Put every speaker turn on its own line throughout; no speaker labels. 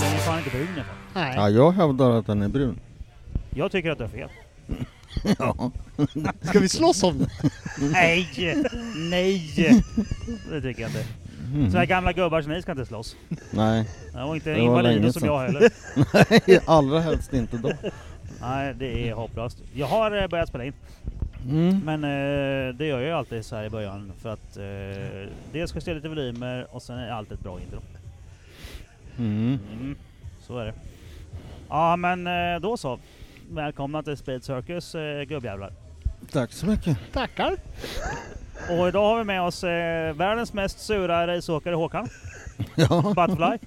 Den är fan inte brun i alla fall.
Nej.
Ja, jag hävdar att den är brun.
Jag tycker att du har fel.
Ja.
Ska vi slåss om det?
Nej! Nej! Det tycker jag inte.
Mm.
Så här gamla gubbar som ni ska inte slåss.
Nej,
Nej, Och inte
Det var länge
invalider som
sedan.
jag heller.
Nej, allra helst inte då.
Nej, det är hopplöst. Jag har eh, börjat spela in.
Mm.
Men eh, det gör jag ju alltid så här i början. För att eh, dels ska jag ställa lite volymer och sen är det alltid ett bra intro.
Mm.
Mm, så är det. Ja men eh, då så. Välkomna till Speed Circus eh, gubbjävlar.
Tack så mycket.
Tackar.
Och idag har vi med oss eh, världens mest sura raceåkare Håkan,
Ja,
Butterfly.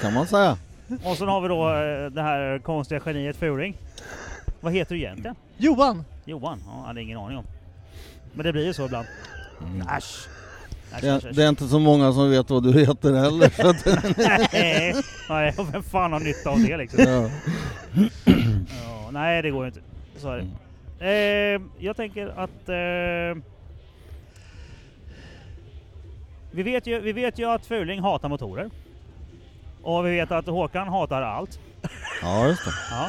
kan man säga.
Och sen har vi då eh, det här konstiga geniet Furing. Vad heter du egentligen?
Johan.
Johan? Ja, jag hade ingen aning om. Men det blir ju så ibland. Äsch! Äsch,
Det,
äsch, äsch.
det är inte så många som vet vad du heter heller. Så att,
Nej, nej, och vem fan har nytta av det liksom?
ja.
Ja, nej, det går ju inte. Så är det. Eh, jag tänker att... Eh, vi, vet ju, vi vet ju att Fuling hatar motorer. Och vi vet att Håkan hatar allt.
ja, just det.
Ja.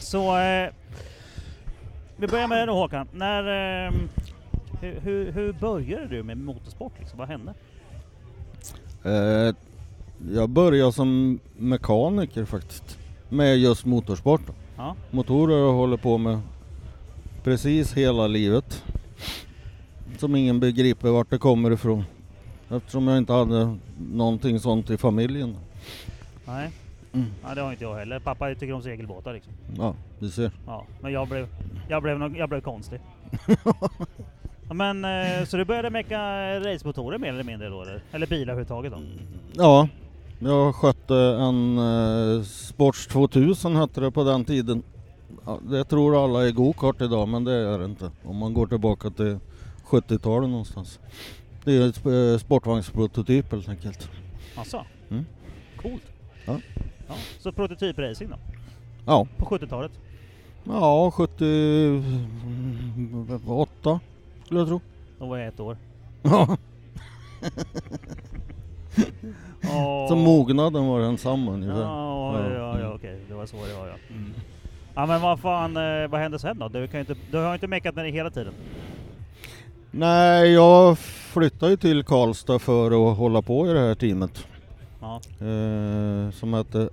Så... Eh, vi börjar med dig då Håkan. När, eh, hur, hur, hur började du med motorsport? Liksom? Vad hände?
Eh, jag började som mekaniker faktiskt. Med just motorsport.
Ja.
Motorer har jag hållit på med precis hela livet. Som ingen begriper vart det kommer ifrån. Eftersom jag inte hade någonting sånt i familjen.
Nej.
Mm.
Ja, det har inte jag heller. Pappa tycker om segelbåtar. Liksom.
Ja, du ser.
Ja, men jag blev, jag blev, nog- jag blev konstig. Ja, men eh, så du började meka racemotorer mer eller mindre då? Eller, eller bilar överhuvudtaget då?
Mm. Ja, jag skötte en eh, Sports 2000 hette det på den tiden. Ja, det tror alla är gokart idag men det är det inte. Om man går tillbaka till 70-talet någonstans. Det är ett eh, sportvagnsprototyp helt enkelt.
Asså?
Mm.
Coolt.
Ja.
Ja, så prototypracing då?
Ja,
På 70-talet?
ja 78 skulle jag tro.
Då var jag ett år.
Ja,
Oh.
så mognaden var densamma
Ja,
ungefär.
ja, ja, ja okej. Det var så det var ja. Mm. Ja men vad fan, eh, vad hände sen då? Du, kan ju inte, du har inte mekat med det hela tiden?
Nej, jag flyttade ju till Karlstad för att hålla på i det här teamet.
Ja.
eh, som hette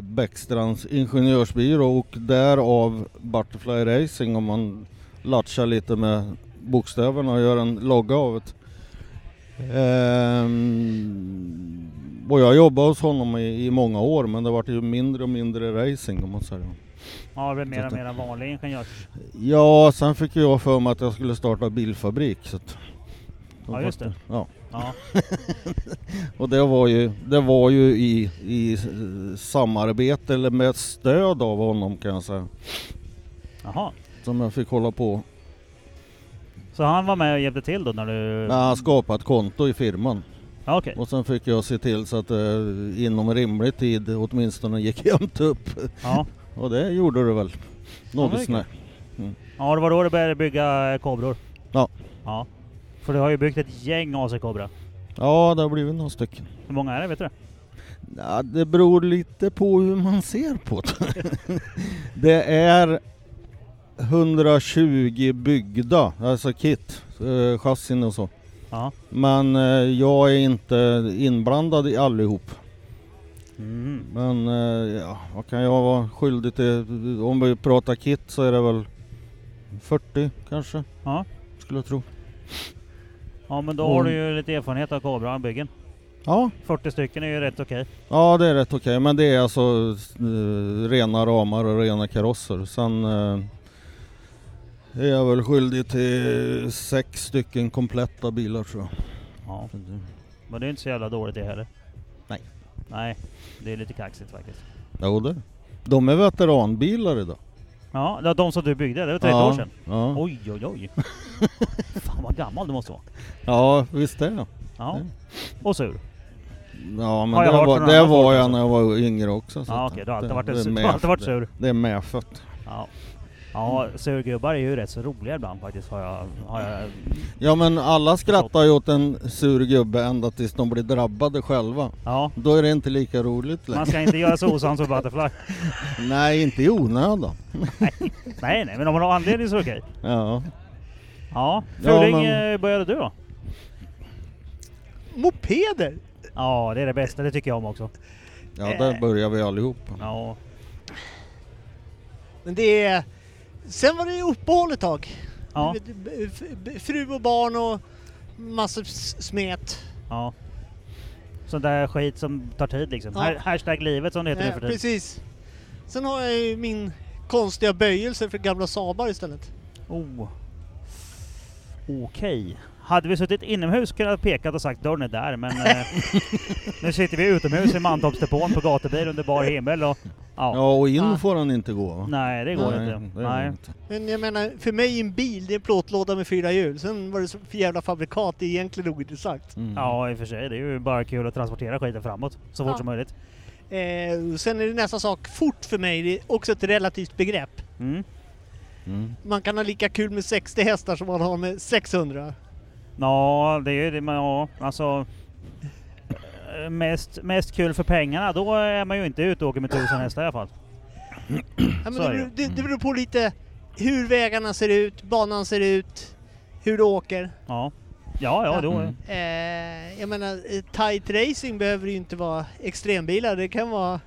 Bäckstrands Ingenjörsbyrå och därav Butterfly Racing om man latchar lite med bokstäverna och gör en logga av det. Ehm, och jag jobbade hos honom i, i många år men det vart ju mindre och mindre racing om man säger.
Ja, det blev mer och mer en vanlig ingenjörs...
Ja, sen fick jag för mig att jag skulle starta bilfabrik. Så att,
Ja, just det.
Ja.
Ja,
Och det var ju, det var ju i, i eh, samarbete eller med stöd av honom kan jag säga.
jaha.
Som jag fick hålla på.
Så han var med och hjälpte till då när du...
Jag har skapat konto i firman.
Ja, okej.
Och sen fick jag se till så att det inom rimlig tid åtminstone gick jämnt upp.
Ja.
Och det gjorde det väl.
Ja,
Något
det
snett.
Ja, det var då du började bygga eh, kobror.
Ja.
Ja. För du har ju byggt ett gäng AC Cobra.
Ja, det har blivit några stycken.
Hur många är det, vet du det?
Ja, det beror lite på hur man ser på det. det är 120 byggda, alltså kit, eh, chassin och så.
Ja.
Men eh, jag är inte inblandad i allihop.
Mm.
Men eh, ja, vad kan jag vara skyldig till? Om vi pratar kit så är det väl 40 kanske?
Ja.
Skulle jag tro.
Ja, men då har du ju lite erfarenhet av Cobra-byggen.
Ja,
40 stycken är ju rätt okej.
ja det är rätt okej. Men det är alltså eh, rena ramar och rena karosser. Sen eh, är jag väl skyldig till sex stycken kompletta bilar tror jag.
Ja. Men det är inte så jävla dåligt det heller.
Nej.
Nej. Det är lite kaxigt faktiskt.
Jo det är det. De är veteranbilar idag.
Ja, det var de som du byggde, det var 30
ja,
år sedan.
Ja,
Oj, oj, oj. Fan vad gammal du måste vara.
ja visst är jag.
Ja.
Mm.
Och sur.
Ja men
Har jag
det
hört
var,
från
det
annat
var
håll
jag
också?
när jag var yngre också. så
Ja,
att
okej, du har alltid
det-
varit, en sur. Du
det är
har
med-
alltid varit sur.
Det är medfött.
Ja. Ja, surgubbar är ju rätt så roliga ibland faktiskt har jag... Har jag
Ja men alla skrattar ju åt en sur gubbe ända tills de blir drabbade själva.
ja.
Då är det inte lika roligt längre.
Man ska inte göra så osams på Butterfly.
Nej, inte i onödan.
Nej, nej, men om man har anledning så är det okej.
Ja.
Ja,
Ja,
Fuling
men-
eh, började du då?
Mopeder!
Ja, det är det bästa. Det tycker jag om också.
ja, där börjar vi allihopa.
Eh. Ja,
Men det är... Sen var det ju uppehåll ett tag.
ja,
Du vet, b- f- b- Fru och barn och massor s- smet.
ja. Sån där skit som tar tid liksom.
Ja.
Ha- Hashtag livet som det heter nu
Eh,
för tiden.
precis. Sen har jag ju min konstiga böjelse för gamla Sabar istället.
Oh. Okej. Hade vi suttit inomhus kunnat jag pekat och sagt dörren är där, men eh, nu sitter vi utomhus i Mantorpsdepån på gatubil under bar himmel och... Ja.
Ja, och in
Ja.
får han inte gå va?
Nej, det går
Nej,
inte.
det
Nej.
inte.
Men jag menar, för mig en bil det är en plåtlåda med fyra hjul. Sen var det så för jävla fabrikat, det är egentligen ointressant.
Mm.
Ja, i och för sig. Det är ju bara kul att transportera skiten framåt så fort
Ja.
som möjligt.
Eh, och sen är det nästa sak, fort för mig, det är också ett relativt begrepp.
Mm.
Mm.
Man kan ha lika kul med 60 hästar som man har med 600.
Ja, det är ju det. Men ja, alltså... eh, Mest, mest kul för pengarna, då är man ju inte ute och åker med tusen hästar i alla fall.
Ja, men
Så
det,
är det. Mm.
beror, det, det beror på lite hur vägarna ser ut, banan ser ut, hur du åker.
Ja, ja, ja
Ja.
då...
Mm.
Eh, jag menar, eh, tight racing behöver ju inte vara extrembilar, det kan vara...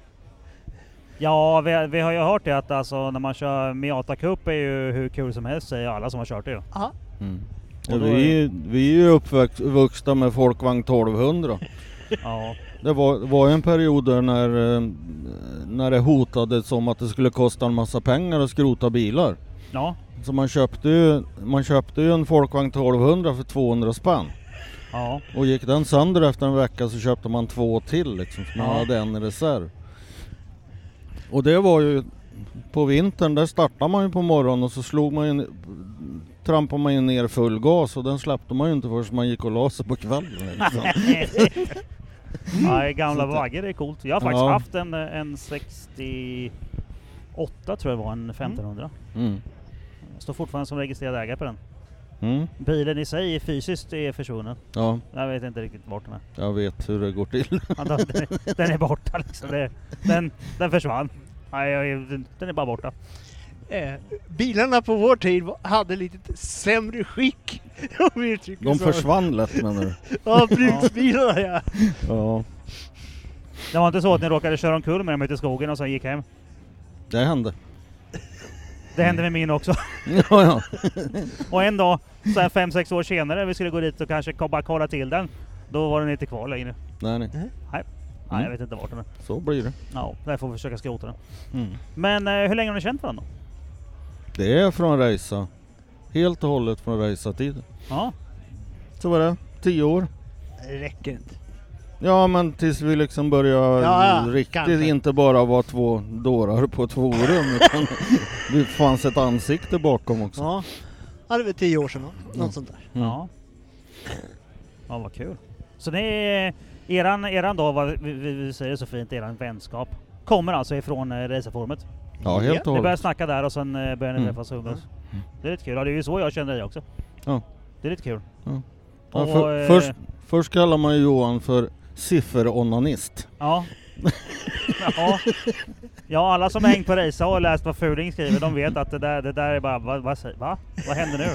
Ja, vi, vi har ju hört det att alltså, när man kör Miata Cup är ju hur kul som helst säger alla som har kört det ju.
Aha.
Mm.
Och
Ja,
då
vi, är- vi är ju uppvuxna med Folkvagn 1200.
Ja,
Det var, var ju en period där när, eh, när det hotades om att det skulle kosta en massa pengar att skrota bilar.
ja,
Så man köpte ju, man köpte ju en Folkvagn 1200 för 200 spänn.
ja,
Och gick den sönder efter en vecka så köpte man två till liksom, så man
Ja.
hade en i reserv. Och det var ju på vintern, där startade man ju på morgonen och så slog man ju, trampade man ju ner full gas och den släppte man ju inte förrän man gick och la sig på kvällen. Liksom.
ja. Gamla vaggar är coolt. Jag har faktiskt
Ja.
haft en, en 68 tror jag det var, en 1500.
Mm.
Jag står fortfarande som registrerad ägare på den.
Mm.
Bilen i sig är fysiskt är försvunnen.
Ja,
Jag vet inte riktigt vart den är.
jag vet hur det går till.
Antagligen, Den är, den är borta liksom. Det, den, den försvann. Nej, jag- den- den är bara borta.
Eh, bilarna på vår tid var- hade lite sämre skick, om vi uttrycker
De
så.
försvann lätt menar du?
Ja, bruksbilarna ja.
Ja,
Det var inte så att ni råkade köra omkull med dem ute i skogen och sen gick hem?
det hände.
Det hände med min också.
Ja, ja.
Och en dag, så här fem, sex år senare, vi skulle gå dit och kanske ko- bara kolla till den. Då var den inte kvar längre.
Nej, nej.
Nej, jag
Mm.
vet inte vart den är.
Så blir det.
Ja, där får vi försöka skrota den.
Mm.
Men eh, hur länge har ni känt varandra?
Det är från Reisa. Helt och hållet från Reisa-tiden.
Ja,
Så var det. Tio år.
Det räcker inte.
Ja men tills vi liksom börjar
Ja, ja,
riktigt
kanske.
inte bara vara två dårar på ett forum utan det fanns ett ansikte bakom också.
Ja. ja, det var tio år sedan, nå- något
Mm.
sånt där.
Mm.
ja. Ja, vad kul. Så det är eran, eran då, vad vi, vi, vi säger så fint, eran vänskap. Kommer alltså ifrån eh, racerforumet.
Ja helt
Ja,
och
Ni började
hållet.
snacka där och sen eh, började ni
Mm.
träffas och umgås. Det är lite kul. Ja, det är ju så jag känner dig också.
Ja.
Det är lite kul.
Ja. Ja,
Och,
för,
eh,
först, först kallar man ju Johan för sifferonanist.
Ja. ja. Ja, alla som har hängt på Risa och läst vad Fuling skriver, de vet att det där, det där är bara, vad, vad, säger- va? Vad hände nu?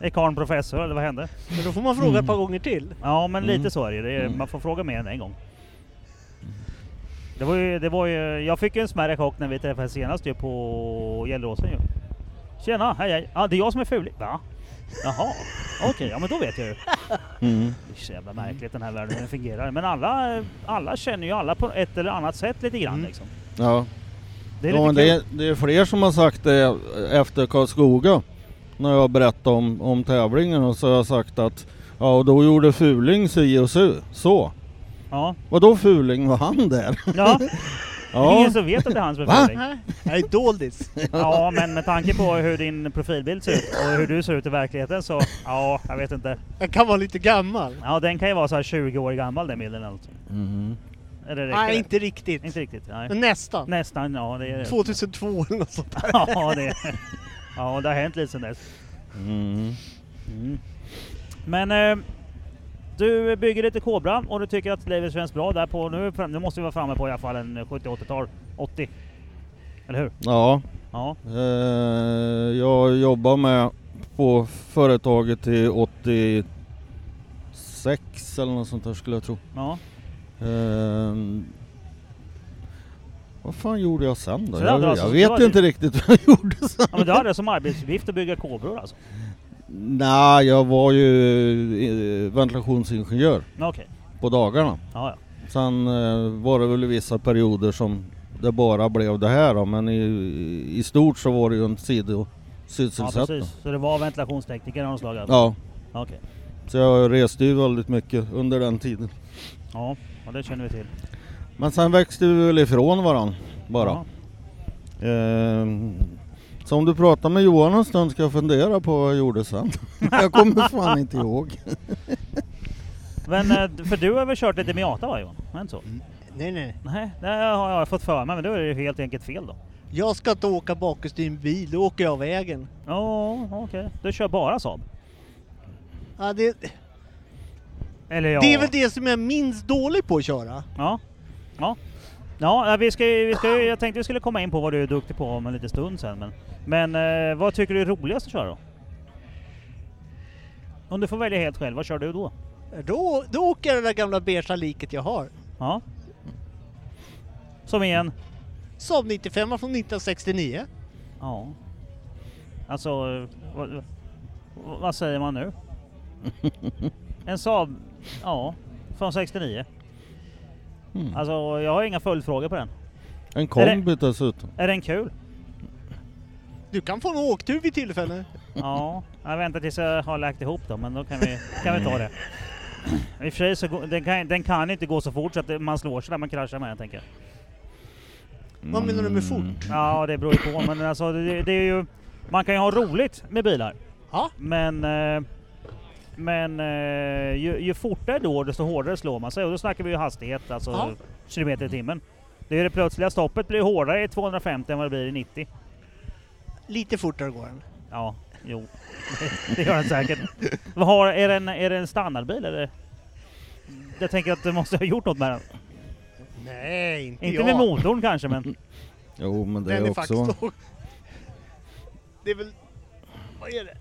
Är karln professor eller vad hände?
Men då får man fråga ett par
Mm.
gånger till.
Ja, men
Mm.
lite så är det, ju. det är, Man får fråga mer än en gång. Det var ju, det var ju, jag fick ju en smärre chock när vi träffades senast ju på Gelleråsen ju. Tjena, hej hej. Ja, det är jag som är Fuling. Va? Jaha, okej, ja men då vet jag ju.
Mm.
Det är så jävla märkligt den här världen hur den fungerar. Men alla, alla känner ju alla på ett eller annat sätt lite grann
Mm.
liksom.
Ja.
Det är
ja, men
lite
det,
kul.
är, det är fler som har sagt det efter Karlskoga. När jag berättade om, om tävlingen och så har jag sagt att ja och då gjorde Fuling si och så. så.
Ja.
Vadå Fuling, var han där?
Ja. Det är
Ja,
ingen som vet att det är hans befäling.
Nej, jag är doldis.
Ja, men med tanke på hur din profilbild ser ut och hur du ser ut i verkligheten så, ja, jag vet inte.
Jag kan vara lite gammal.
Ja, den kan ju vara så här 20 år gammal den bilden eller något.
Mhm.
Eller räcker
Nej,
det?
inte Mm. riktigt.
Inte riktigt, nej.
Men nästan.
Nästan, ja det är det.
2002 eller något sånt där.
Ja, det, ja, det har hänt lite sen dess.
Mhm.
Men eh, du bygger lite Cobra och du tycker att livet känns bra där på nu. är fram- Nu måste vi vara framme på i alla fall en 70-80-tal. 80. Eller hur?
ja
Ja.
eh, jag jobbar med på företaget till 86 eller något sånt där skulle jag tro.
ja.
Ehm, vad fan gjorde jag sen då?
Så det hade
Jag,
alltså-
jag
det var
vet
det-
ju inte riktigt vad jag gjorde sen.
ja men du hade det som arbetsuppgift att bygga Cobror alltså?
Nej, jag var ju eh, ventilationsingenjör
Ja, Okej.
på dagarna.
Ja, ja.
Sen eh, var det väl vissa perioder som det bara blev det här då, men i, i stort så var det ju en
ja
sidosysselsättning.
precis. Så det var ventilationstekniker av något slag? alltså?
Ja,
Ja, Okej.
så jag reste ju väldigt mycket under den tiden.
Ja, ja, det känner vi till.
Men sen växte vi väl ifrån varandra bara.
Ja.
Ehm, så om du pratar med Johan en stund ska jag fundera på vad jag gjorde sen. jag kommer fan inte ihåg.
Men eh, för du har väl kört lite Miata va Johan? Var det inte så?
Nej, nej.
Nej, det har jag fått för mig, men då är det ju helt enkelt fel då.
Jag ska inte åka bakhus i en bil, då åker jag vägen.
Ja, okej. Du kör bara Saab?
Ja, det,
Eller ja...
det är väl det som jag är minst dålig på att köra.
Ja. Ja. Ja, ja, vi ska, ju- vi ska, ju- jag tänkte vi skulle komma in på vad du är duktig på om en liten stund sen. Men, men eh, vad tycker du är roligast att köra då? Om du får välja helt själv, vad kör du då?
Då, då åker jag det där gamla beiga liket jag har.
Ja. Som igen.
Saab 95 från 1969.
Ja. Alltså, eh, vad, vad säger man nu? En Saab, ja, från 69.
Mm.
Alltså, jag har inga följdfrågor på den.
En kombi dessutom.
Är den kul?
Du kan få en åktur vid tillfälle.
Ja, jag väntar tills jag har lagt ihop dem, men då kan vi, kan vi ta det. I och för sig så går- den kan, den kan inte gå så fort så att det- man slår sig där man kraschar med den tänker jag.
Vad menar du med
Mm.
fort?
Ja, det beror ju på, men alltså det, det är ju... Man kan ju ha roligt med bilar,
Ja,
men... eh, Men eh, ju, ju fortare det går desto hårdare slår man sig och då snackar vi ju hastighet, alltså
Ja.
kilometer i timmen. Det är det plötsliga stoppet blir hårdare i 250 än vad det blir i 90.
lite fortare går den.
Ja, jo. Det gör den säkert. Vad har, är, det en, är det en standardbil eller? Jag tänker att du måste ha gjort något med den.
Nej, inte,
Inte
jag.
med motorn kanske men...
Jo men det
Den
är
är
också...
faktiskt Det är väl... Vad är det?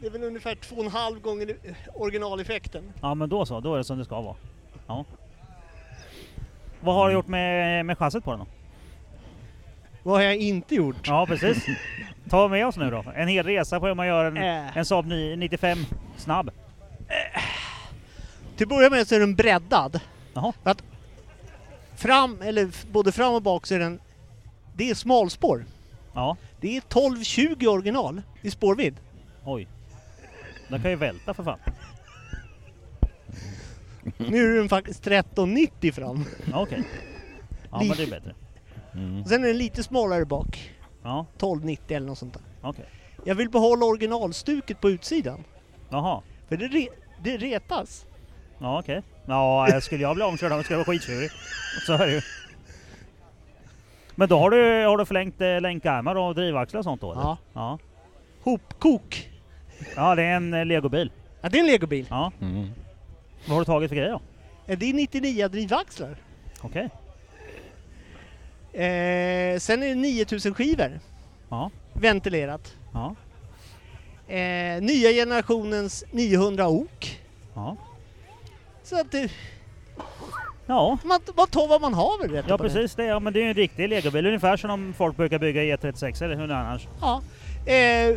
Det är väl ungefär två och en halv gånger originaleffekten.
Ja men då så, då är det som det ska vara. Ja. Vad har du gjort med, med chassit på den då?
Vad har jag inte gjort?
Ja precis. Ta med oss nu då. En hel resa på hur man gör en,
Äh.
en Saab 9 95 snabb.
Till att börja med så är den breddad.
Jaha.
Fram, eller f- både fram och bak så är den... Det är smalspår.
Ja.
Det är 12-20 original i spårvidd.
Oj. Den kan ju välta för fan.
Nu är den faktiskt 1390 fram.
Ja, Okej. Ja men det är bättre.
Mm.
Sen är den lite smalare bak.
Ja
1290 eller något sånt där.
okej.
Jag vill behålla originalstuket på utsidan.
Jaha.
För det, re, det retas.
Ja okej. Ja, jag skulle jag bli omkörd om jag skulle vara skitsurig. Så är det ju. Men då har du, har du förlängt eh, länkarmar och drivaxlar och sånt då? eller?
Ja.
ja.
Hopkok.
Ja, det är en eh, legobil.
Ja, det är en legobil.
Ja.
Mm.
Vad har du tagit för grejer då?
Eh, Det är 99 drivaxlar.
Okej.
Eh, sen är det 9000 skivor.
Ja.
Ventilerat.
Ja.
Eh, nya generationens 900 ok.
Ja.
Så att det,
Ja.
man, man tar vad man har väl rätt
Ja
upp och ner.
precis, det, ja, men det är ju en riktig legobil. Ungefär som om folk brukar bygga E36 eller hur det är annars.
Ja. Eh,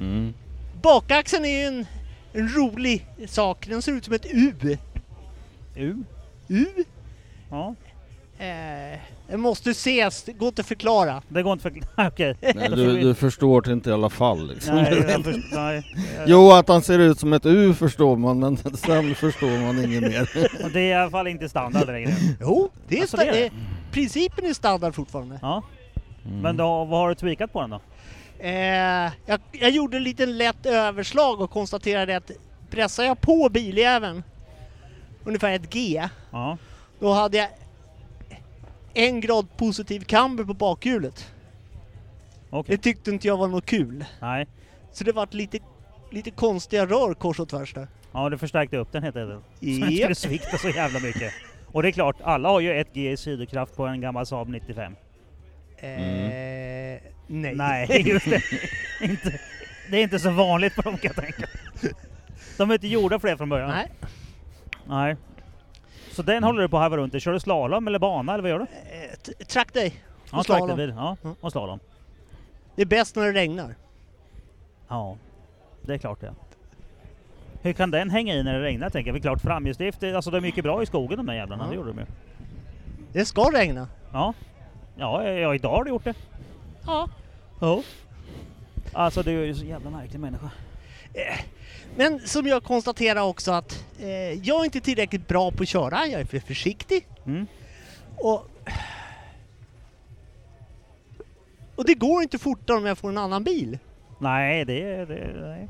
Mm.
bakaxeln är ju en, en rolig sak. Den ser ut som ett U.
U.
U.
Ja.
Eh, Det måste ses, det går inte att förklara.
Det går inte för... Okej.
Nej, du, du förstår det inte i alla fall liksom.
Nej, jag först- nej.
Jo, att han ser ut som ett U förstår man, men sen förstår man inget mer.
Och det är i alla fall inte standard längre.
Jo, det är,
Alltså,
sta-
det är det.
eh, principen är standard fortfarande.
Ja.
Mm.
Men då, vad har du tweakat på den då?
Eh, jag, jag gjorde en liten lätt överslag och konstaterade att pressar jag på biljäveln ungefär ett G,
Ja.
då hade jag en grad positiv camber på bakhjulet.
Okej.
Det tyckte inte jag var något kul.
Nej.
Så det vart lite, lite konstiga rör kors och tvärs där.
Ja, du förstärkte upp den helt enkelt. Så den
Japp.
skulle svikta så jävla mycket. Och det är klart, alla har ju ett G i sidokraft på en gammal Saab 95.
Eh, nej.
Mm. Nej, just det. inte, det är inte så vanligt på dem kan jag tänka. De är inte gjorda för det från början.
Nej.
Nej. Så den håller du på att harva runt i. Kör du slalom eller bana eller vad gör du?
Eh, t- track dig.
Ja,
slalom.
traktorbil. Ja,
Mm.
och slalom.
Det är bäst när det regnar.
Ja, det är klart det. Hur kan den hänga i när det regnar tänker jag? Det är klart framhjulsdrift, det- alltså de gick ju bra i skogen de där jävlarna,
Ja.
det gjorde de ju.
Det ska regna.
Ja. Ja, ja, idag har du gjort det.
Ja.
Ja. Alltså du är ju så jävla märklig människa.
Men som jag konstaterar också att eh, jag är inte tillräckligt bra på att köra, jag är för försiktig.
Mm.
Och, och det går inte fortare om jag får en annan bil.
Nej, det, det nej.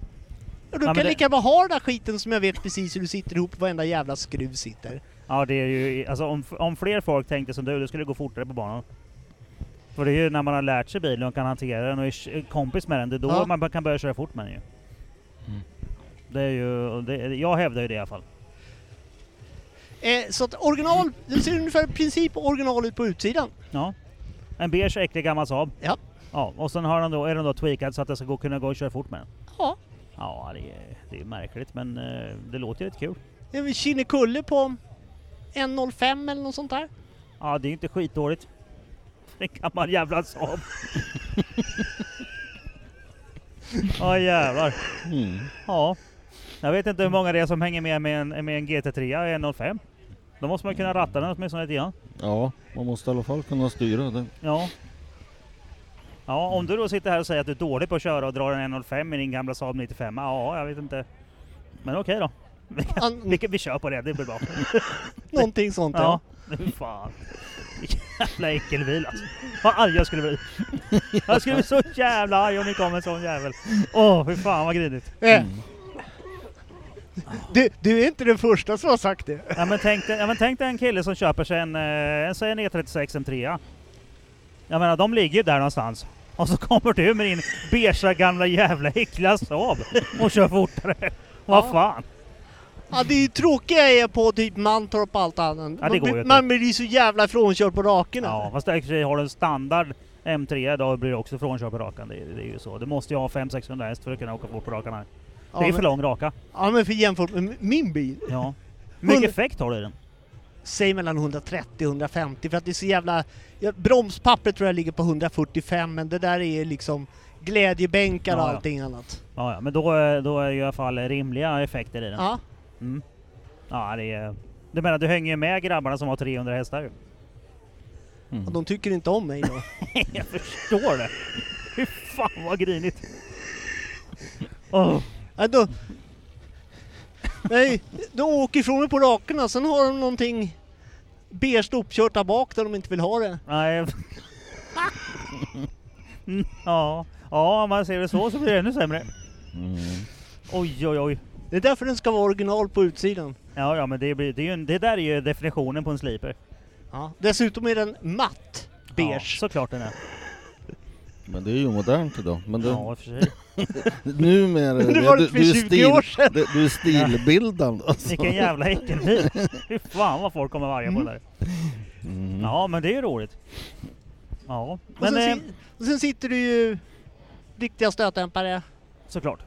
Och
Ja, men
då kan jag
det-
lika bra ha den där skiten som jag vet precis hur du sitter ihop, varenda jävla skruv sitter.
Ja, det är ju, alltså om, om fler folk tänkte som du, då skulle det gå fortare på banan. För det är ju när man har lärt sig bilen och kan hantera den och är k- kompis med den, det är då
Ja. Mm.
man kan börja köra fort med den ju. Det är ju, och det, jag hävdar ju det i alla fall.
Eh, så att original, det ser ungefär i princip original ut på utsidan.
Ja. En beige äcklig gammal Saab.
Ja.
Ja, och sen har den då, är den då tweakad så att den ska gå, kunna gå och köra fort med den.
Ja.
Ja, det är, det är märkligt men eh, det låter ju rätt kul.
Det är väl Kinnekulle på 1.05 eller något sånt där.
Ja, det är ju inte skitdåligt. En gammal jävla Saab. Ja jävlar.
Mm.
Ja. Jag vet inte hur många det är som hänger med med en, med en GT3 i 105. Då måste man kunna ratta den åtminstone lite grann.
Ja, man måste i alla fall kunna styra det.
Ja. Ja, om du då sitter här och säger att du är dålig på att köra och drar en 105 i din gamla Saab 95. Ja, jag vet inte. Men okej då. Vi, kan,
An-
vi, kan, vi kör på det, det blir bra.
Någonting sånt
Ja,
ja.
nu fan. Vilken Jävla äckelbil alltså. Vad arg jag skulle bli. Jag skulle bli så jävla arg om det kom en sån jävel. Åh, fy fan vad grinigt.
Eh. Du, du är inte den första som har sagt det.
Ja men, tänk dig, ja men tänk dig en kille som köper sig en, eh, en, säg en E36 M3. Jag menar de ligger ju där någonstans. Och så kommer du med din beigea gamla jävla äckliga Saab och kör fortare. Vad
Ja.
fan.
Ja, det är ju tråkiga är på typ Mantorp och allt annat.
Ja, det går ju
man, blir-
inte.
man blir ju så jävla frånkörd på raken.
Ja, fast i och för sig har du en standard M3 då blir du också frånkörd på rakan. Det, är- det är ju så. Du måste ju ha 500-600 häst för att kunna åka fort på rakan här.
Ja,
det är
men-
för lång raka.
Ja men för jämfört med min bil,
Ja. Hur mycket
Hundra-
effekt har du i den?
säg mellan 130 och 150 för att det är så jävla... Ja, bromspappret tror jag ligger på 145 men det där är liksom glädjebänkar och
Ja, ja.
allting annat.
Ja, ja men då, är- då är ju i alla fall rimliga effekter i den.
Ja.
Mm. Ja, det är... Du menar, du hänger ju med grabbarna som har 300 hästar ju.
Och de tycker inte om mig då.
Jag förstår det. Fy fan vad grinigt. Åh,
Ja, då nej, de åker ifrån mig på rakorna sen har de någonting beige uppkört där bak där de inte vill ha det.
nej. Mm, ja. ja, om man ser det så så blir det ännu sämre.
Mm.
Oj, oj, oj.
Det är därför den ska vara original på utsidan.
Ja, ja men det, blir, det, är ju, en- det där är ju definitionen på en sliper.
Ja. Dessutom är den matt
Ja,
beige.
såklart den är.
Men det är ju modernt idag. Men det,
Ja, i och för sig.
numera...
Men det var
typ
det för 20 år sedan.
det- du är stilbildande alltså.
Vilken jävla äckelbil. Fy fan vad folk kommer varga på det där.
Mm.
Ja, men det är ju roligt. Ja,
och,
men
sen,
eh,
si- och sen sitter du ju riktiga stötdämpare
såklart.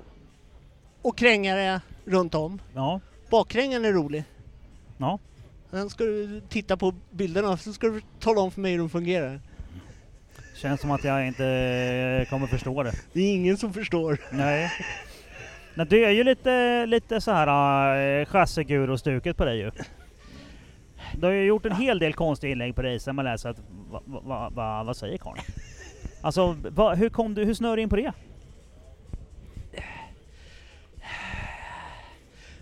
och krängare runt om.
Ja,
Bakkrängan är rolig.
ja.
Sen ska du titta på bilderna och så ska du tala om för mig hur de fungerar.
Känns som att jag inte eh, kommer förstå det.
Det är ingen som förstår.
Nej. Nej, eh, du är ju lite, lite så här äh, chassiguro-stuket på dig ju. Du har ju gjort en hel del konstiga inlägg på racen, man läser att va, va, va, va, vad säger karln? Alltså, va, hur, kom du, hur snör du in på det?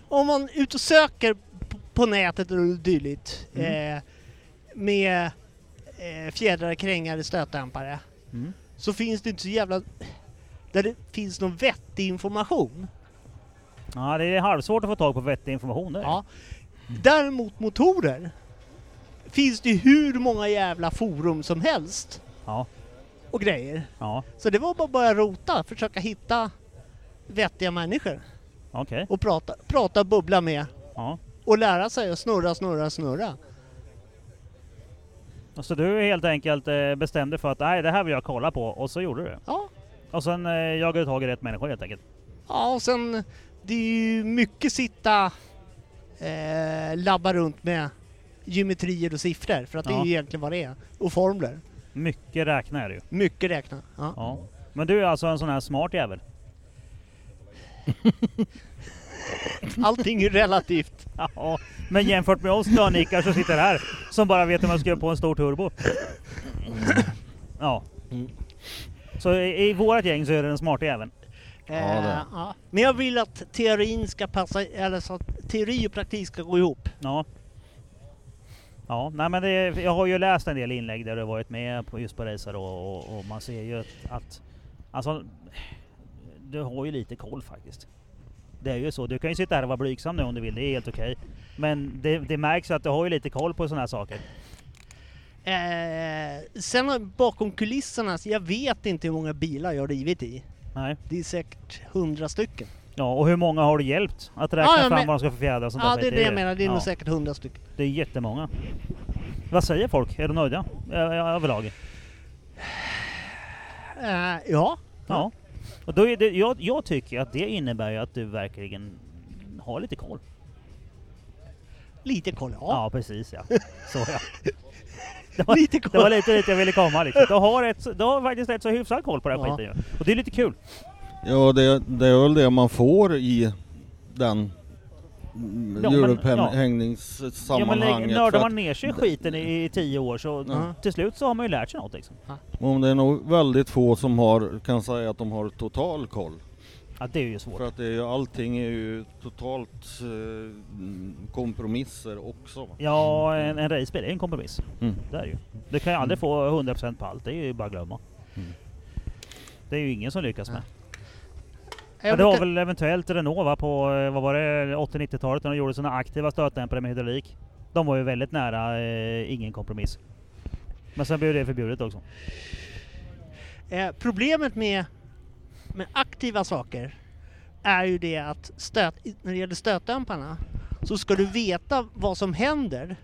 Om man är ute och söker p- på nätet och dylikt
Mm.
eh, med eh, fjädrar, krängare, stötdämpare
Mm.
så finns det inte så jävla... Där det finns någon vettig information.
Ja, det är halvsvårt att få tag på vettig information där.
Ja.
Mm.
Däremot motorer finns det ju hur många jävla forum som helst
Ja,
och grejer.
ja
Så det var bara att börja rota, försöka hitta vettiga människor
okej.
och prata, prata och bubbla med
Ja.
och lära sig att snurra, snurra, snurra.
Så du helt enkelt eh, bestämde för att nej, det här vill jag kolla på och så gjorde du det.
Ja,
Och sen eh, jagade du tag i rätt människor helt enkelt.
ja och sen det är ju mycket sitta eh, labba runt med geometrier och siffror för att det är
Ja.
ju egentligen vad det är. Och formler.
Mycket räkna är det ju.
Mycket räkna. Ja.
Ja. Men du är alltså en sån här smart jävel?
Allting är relativt.
Ja, men jämfört med oss stönikar som sitter här, som bara vet hur man ska göra på en stor turbo. Ja.
Mm.
Så i, i vårat gäng så är det den smarta jäveln.
Eh,
Ja, det är.
ja. Men jag vill att teorin ska passa, eller så att teori och praktik ska gå ihop.
Ja. Ja, nej men det, jag har ju läst en del inlägg där du har varit med på, just på racer och, och, och man ser ju att, att... Alltså... Du har ju lite koll faktiskt. Det är ju så. Du kan ju sitta här och vara blygsam nu om du vill, det är helt okej. Men det, det märks ju att du har ju lite koll på sådana här saker.
Eh, sen har- bakom kulisserna, så jag vet inte hur många bilar jag har rivit i.
Nej.
Det är säkert hundra stycken.
Ja, och hur många har du hjälpt att räkna
Ja, ja,
fram
men-
vad de ska få fjädrar och sånt
Ja,
där
det är
skit?
det jag
ju-
menar. Det är
ja,
nog säkert hundra stycken.
Det är jättemånga. Vad säger folk? Är de nöjda? Ö- ö- Överlag?
Eh, ja.
Ja. Och då är det, jag, jag tycker att det innebär ju att du verkligen har lite koll.
Lite koll. Ja.
Ja, precis ja. Så ja. Det var,
Lite
det
koll.
var lite dit jag ville komma liksom. Du har, ett, du har faktiskt rätt så hyfsad koll på den här
Ja.
skiten ju. Och det är lite kul.
Ja, det, det är väl det man får i den mm,
Ja, men- ja. Ja, men lägg-
julupphängningssammanhanget.
nördar
för
man ner sig i skiten i, i tio år så
Ja.
till slut så har man ju lärt sig något liksom.
att- om det är nog väldigt få som har, kan säga att de har total koll.
Ja, det är ju svårt.
För att det är ju, allting är ju totalt eh, kompromisser också. va.
Ja, en, en racebil är ju en kompromiss.
Mm.
Det är det ju. Du kan ju aldrig få 100% på allt, det är ju bara att glömma.
Mm.
Det är ju ingen som lyckas med.
Jag
Ja, det var
brukar-
väl eventuellt Renault va, på eh, vad var det, 80-90-talet när de gjorde sina aktiva stötdämpare med hydraulik. De var ju väldigt nära eh, ingen kompromiss. Men sen blev det förbjudet också.
eh, problemet med, med aktiva saker är ju det att stöt, när det gäller stötdämparna så ska du veta vad som händer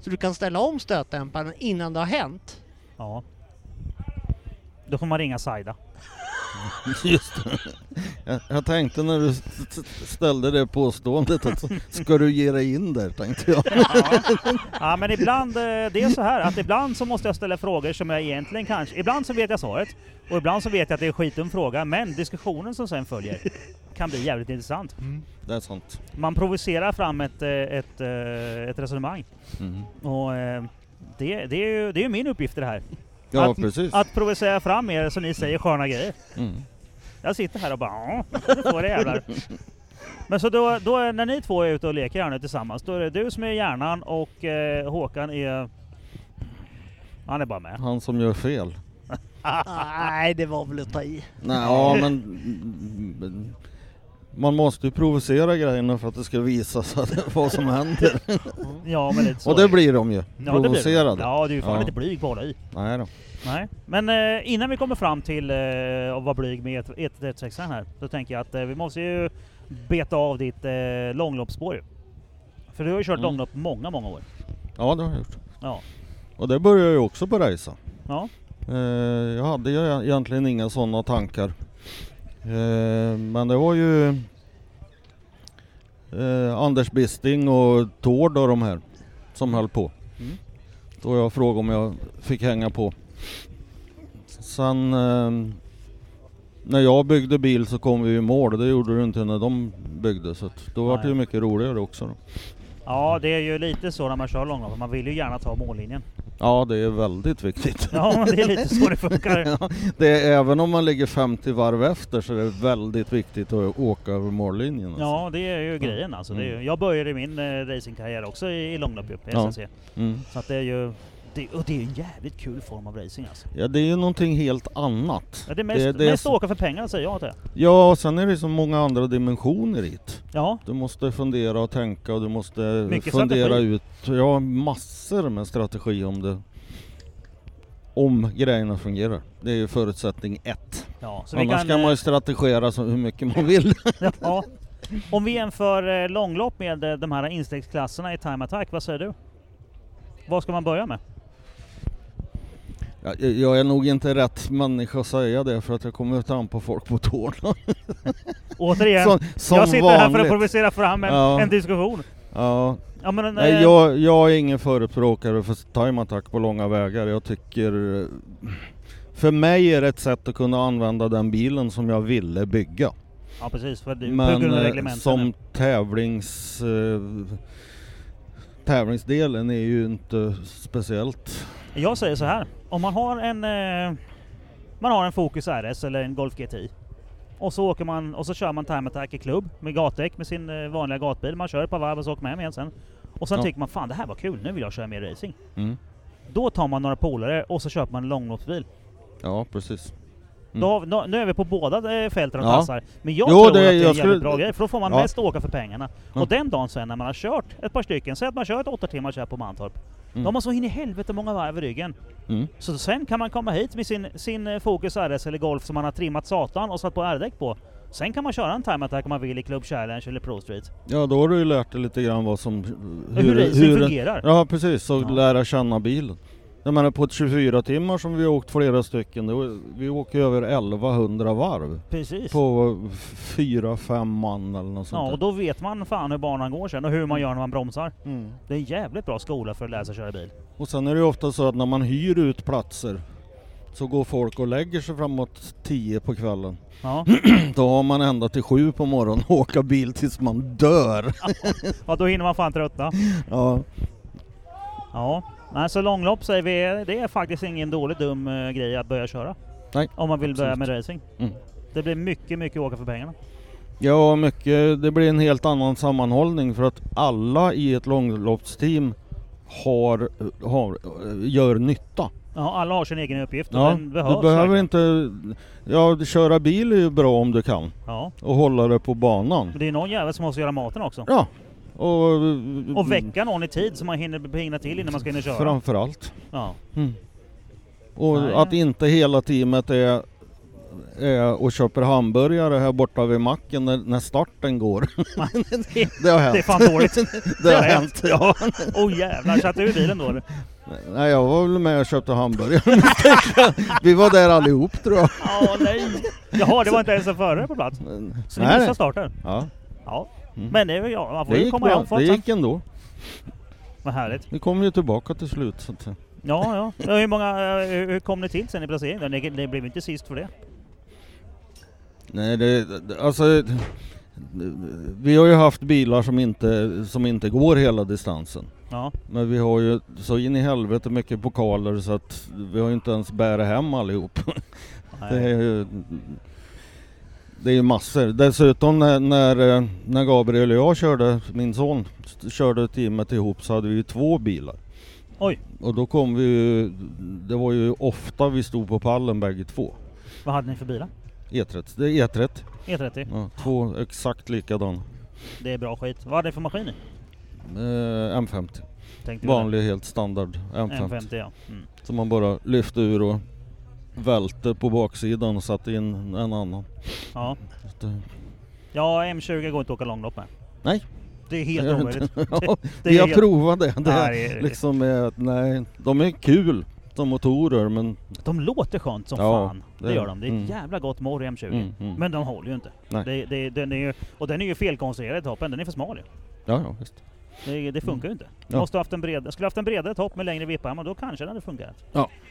så du kan ställa om stötdämparen innan det har hänt.
Ja. Då får man ringa Saida.
Just det. Jag, jag tänkte när du st- st- ställde det påståendet att så- ska du ge dig in där tänkte jag.
Ja men ibland, eh, det är så här att ibland så måste jag ställa frågor som jag egentligen kanske, ibland så vet jag svaret och ibland så vet jag att det är en skitdum fråga men diskussionen som sen följer kan bli jävligt intressant.
Det är sant.
Man provocerar fram ett, eh, ett, eh, ett resonemang
Mm.
och eh, det, det, är ju, det är ju min uppgift i det här.
Ja
att,
precis.
Att provocera fram er så ni säger sköna grejer.
Mm.
Jag sitter här och bara ja, nu får det jävlar. Men så då, då är- när ni två är ute och leker här nu tillsammans, då är det du som är hjärnan och eh, Håkan är... Han är bara med.
Han som gör fel.
Nej, det var väl att ta i.
Nej, ja men mm, man måste ju provocera grejerna för att det ska visa sig vad som händer.
Ja men lite så.
Och det blir de ju.
Ja, det blir-
Provocerade.
Ja du är ju fan
Ja.
inte blyg på att hålla i.
Nej då.
Nej. Men eh, innan vi kommer fram till eh, att vara blyg med 136 här, då tänker jag att eh, vi måste ju beta av ditt eh, långloppsspår ju. För du har ju kört
Mm.
långlopp många, många år.
Ja det har jag gjort.
Ja.
Och det började jag ju också på resa.
Ja.
Eh, jag hade ju e- egentligen inga sådana tankar. Eh, men det var ju eh, Anders Bisting och Tord och de här som höll på.
Mm.
Då jag frågade om jag fick hänga på. Sen eh, när jag byggde bil så kom vi i mål. Det gjorde du inte när de byggde så att då var det ju
Nej.
mycket roligare också. Då.
Ja, det är ju lite så när man kör långlopp. Man vill ju gärna ta mållinjen.
Ja, det är väldigt viktigt.
Ja, men det är lite så det funkar.
Ja, det är, även om man ligger 50 varv efter så är det väldigt viktigt att åka över mållinjen. alltså.
Ja, det är ju grejen alltså. Det är ju, jag började min eh, racingkarriär också i, i långlopp upp i
Mm. Ja.
SNC.
Mm.
Så att det är ju... Det, och det är ju en jävligt kul form av racing alltså.
ja, det är ju någonting helt annat.
Ja, det är mest,
Det- det är
mest
så-
åka för pengarna säger jag till det.
Ja, och sen är det så många andra dimensioner i det.
Ja,
Du måste fundera och tänka och du måste
Mycket
fundera
strategi.
ut, ja massor med strategi om det om grejerna fungerar. Det är ju förutsättning ett.
ja. Så vi
Annars
kan,
kan man
eh,
ju strategera så hur mycket man vill.
ja. Om vi jämför eh, långlopp med eh, de här instegsklasserna i time attack, vad säger du? Vad ska man börja med?
Jag, jag är nog inte rätt människa att säga det för att jag kommer att trampa folk på tårna.
Återigen,
Som, som
jag sitter här för att
vanligt.
provocera fram en,
Ja.
en diskussion.
Ja,
Ja, men,
Nej,
eh,
jag, jag är ingen förespråkare för time-attack på långa vägar. Jag tycker... eh, För mig är det ett sätt att kunna använda den bilen som jag ville bygga.
ja precis, för det- på
Men
grund av
eh,
reglementen.
som tävlings... Eh, tävlingsdelen är ju inte speciellt...
Jag säger så här. Om man har en... Eh, man har en Focus RS eller en Golf GTI. Och så åker man och så kör man time attack i klubb med gatdäck med sin eh, vanliga gatbil. Man kör ett par varv och så åker man hem igen sen. Och sen
Ja.
tycker man fan det här var kul, nu vill jag köra mer racing.
Mm.
Då tar man några polare och så köper man en långloppsbil.
Ja, precis. Mm.
Då, har vi- nå- nu är vi på båda eh, fälten och
Ja.
tassar. Men jag
Jo,
tror
det-
att det är en
jag
jävligt
skulle-
bra grej, för då får man
Ja. Mm.
mest åka för pengarna.
Ja.
Och den dagen sen när man har kört ett par stycken, säg att man kör ett åtta timmars här på Mantorp.
Mm.
Då har man så in i helvete många varv i ryggen.
Mm.
Så sen kan man komma hit med sin, sin eh, Focus RS eller Golf som man har trimmat satan och satt på R-däck på. Sen kan man köra en time attack om man vill i Club Challenge eller Pro Street.
Ja, då har du ju lärt dig lite grann vad som...
Hur, racing fungerar.
Ja precis, och
Ja.
lära känna bilen. Jag menar på ett 24 timmar som vi har åkt flera stycken, då, vi åker över 1100 varv.
Precis.
På fyra, fem man eller något sånt
Ja, och
där.
då vet man fan hur banan går sen och hur man gör när man bromsar.
Mm.
Det är en jävligt bra skola för att lära sig köra bil.
och sen är det ju ofta så att när man hyr ut platser så går folk och lägger sig framåt 10 på kvällen.
Ja.
Då har man ända till 7 på morgonen och åka bil tills man dör.
ja, då hinner man fan tröttna.
Ja,
Ja, Nej, så långlopp säger vi, det är faktiskt ingen dålig dum eh, grej att börja köra.
Nej,
Om man vill börja
absolut.
med racing.
Mm.
Det blir mycket, mycket åka för pengarna.
ja mycket, det blir en helt annan sammanhållning för att alla i ett långloppsteam har, har, gör nytta.
Ja, alla har sin egen uppgift och
Ja,
den behövs.
du behöver
verkligen.
inte... Ja, köra bil är ju bra om du kan
Ja,
och hålla det på banan.
men det är någon jävel som måste göra maten också.
Ja, och... Mm.
Och väcka någon i tid så man hinner pingna till innan man ska hinna köra.
Framförallt.
Ja.
Mm. Och
Nej.
att inte hela teamet är, är och köper hamburgare här borta vid macken när, när starten går. det har hänt.
Det är fan dåligt.
det har
det har
hänt, ja.
Åh oh, jävlar, satt du i bilen då eller?
Nej, jag var väl med och köpte hamburgare. Vi var där allihop tror jag.
Ja, nej. Jaha, det var inte ens en förare på plats. Så ni
Nej,
missade
nej.
starten?
Ja,
Ja.
Mm.
Men det är väl ja, man får
det
ju
gick
komma hem
bra.
för
Det
att
gick ändå.
Vad härligt.
Vi kom ju tillbaka till slut. Så att,
Ja, ja. ja hur, många, eh, hur hur kom ni till sen i placeringen? då? Ni, ni blev inte sist för det.
Nej, det, det- alltså... Vi har ju haft bilar som inte, som inte går hela distansen.
Ja,
Men vi har ju så in i helvete mycket pokaler så att vi har ju inte ens bära hem allihop.
nej.
Det är ju, det är ju massor. Dessutom när, när, eh, när Gabriel och jag körde, min son, s- körde teamet ihop så hade vi ju två bilar.
Oj.
Och då kom vi ju, det var ju ofta vi stod på pallen bägge två.
Vad hade ni för bilar?
E30, det är E30.
E30.
Ja, två exakt likadana.
Det är bra skit. Vad hade ni för maskin i?
Eh, M50.
Tänkte vi.
Vanlig helt standard M50.
M50 ja. Mm.
Som man bara lyfte ur och välte på baksidan och satte in en annan.
ja.
Så att, eh,
Ja, M20 går inte att åka långlopp med.
Nej.
Det är helt
det gör
omöjligt.
inte. ja,
det
vi
är
har
helt-
provat det. det är,
Nej, det är-
liksom är, nej, de är kul som motorer men...
De låter skönt som
Ja,
fan. Det,
det-
gör de. Det är ett
mm.
jävla gott morr i M20.
Mm, mm.
Men de håller ju inte.
Nej.
Det, det, den är ju, och den är ju felkonstruerad i toppen. Den är för smal ju.
Ja, ja visst.
Det, det funkar ju inte.
Mm. Ja.
Måste ha haft en bred, skulle haft en bredare topp med längre vipparm och då kanske den hade fungerat.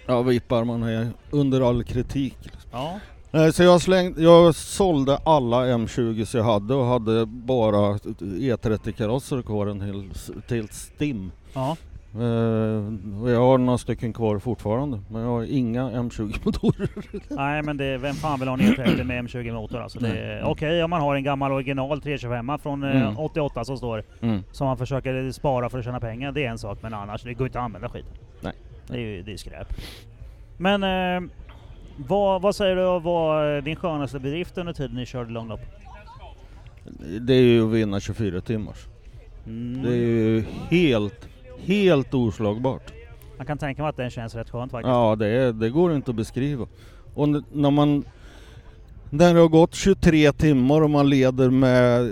Ja, vippar man är under all kritik.
Ja.
Nej, så jag, slängde, jag sålde alla M20 jag hade och hade bara E30-karosser kvar en hel, till STIM.
Ja.
Eh, och jag har några stycken kvar fortfarande, men jag har inga M20-motorer.
Nej men det, vem fan vill ha en E30 med M20 motor alltså? Det är- Okej om man har en gammal original 325 från eh,
Mm.
88 som står. Som man försöker spara för att tjäna pengar. Det är en sak men annars, det går inte att använda skiten.
Nej.
Det är ju det är skräp. Men eh, vad, vad säger du var din skönaste bedrift under tiden ni körde långlopp?
Det är ju att vinna 24 timmars.
Mm.
Det är ju helt, helt oslagbart.
Man kan tänka mig att den känns rätt skönt faktiskt.
Ja, det, är, det går inte att beskriva. Och n- när man... När det har gått 23 timmar och man leder med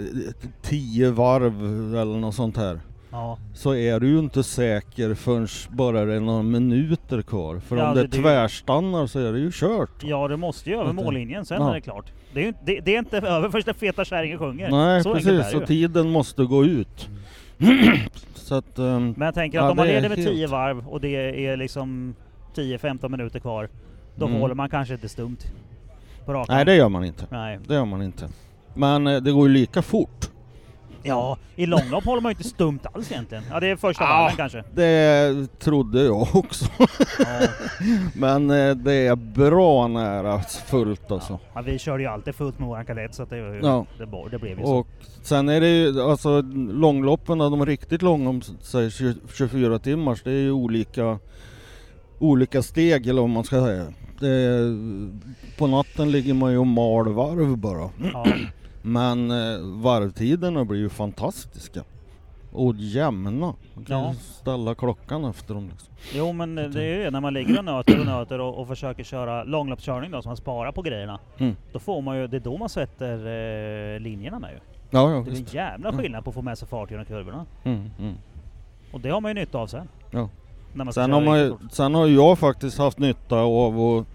10 varv eller något sånt här.
Ja.
Så är du ju inte säker förrän bara det är några minuter kvar. För
Ja,
om det,
det- det är ju-
tvärstannar så är det ju kört.
Ja, du måste ju över
Vänta.
mållinjen sen
Ja.
är det klart. Det är, ju inte- det, det är inte över först den feta kärringen sjunger.
Nej
så enkelt
precis,
är det
så
ju. Mm.
tiden måste gå ut. så att... ehm,
Men jag tänker att
Ja,
om man
det är
leder med
helt-
10 varv och det är liksom 10-15 minuter kvar. Då
Mm.
håller man kanske inte stumt. På rakan.
nej det gör man inte.
Nej.
Det gör man inte. Men eh, det går ju lika fort.
Ja, i långlopp håller man ju inte stumt alls egentligen. Ja, det är första
Ja.
varven kanske.
Det trodde jag också.
Ja.
Men eh, det är bra nära fullt alltså.
Ja, vi körde ju alltid fullt med våran kadett så att det, var ju-
Ja.
det, var- det blev ju så.
Och sen är det ju, alltså långloppen, då, de riktigt långa, om säg 20 24 timmars, det är ju olika, olika steg eller vad man ska säga. Det är, på natten ligger man ju och mal varv bara.
Ja.
Men eh, varvtiderna blir ju fantastiska. Och jämna. Man kan
Ja.
ju ställa klockan efter dem liksom.
Jo men det är ju det, när man ligger och nöter och nöter och, och försöker köra långloppskörning då, så man sparar på grejerna.
Mm.
Då får man ju, det är då man sätter eh, linjerna med ju.
Ja, ja
Det är en
visst.
jävla
Mm.
skillnad på att få med sig fart genom kurvorna.
Mm, mm.
Och det har man ju nytta av sen.
Ja.
När man ska
Sen
köra
har, man ju,
riktigt fort.
sen har ju jag faktiskt haft nytta av att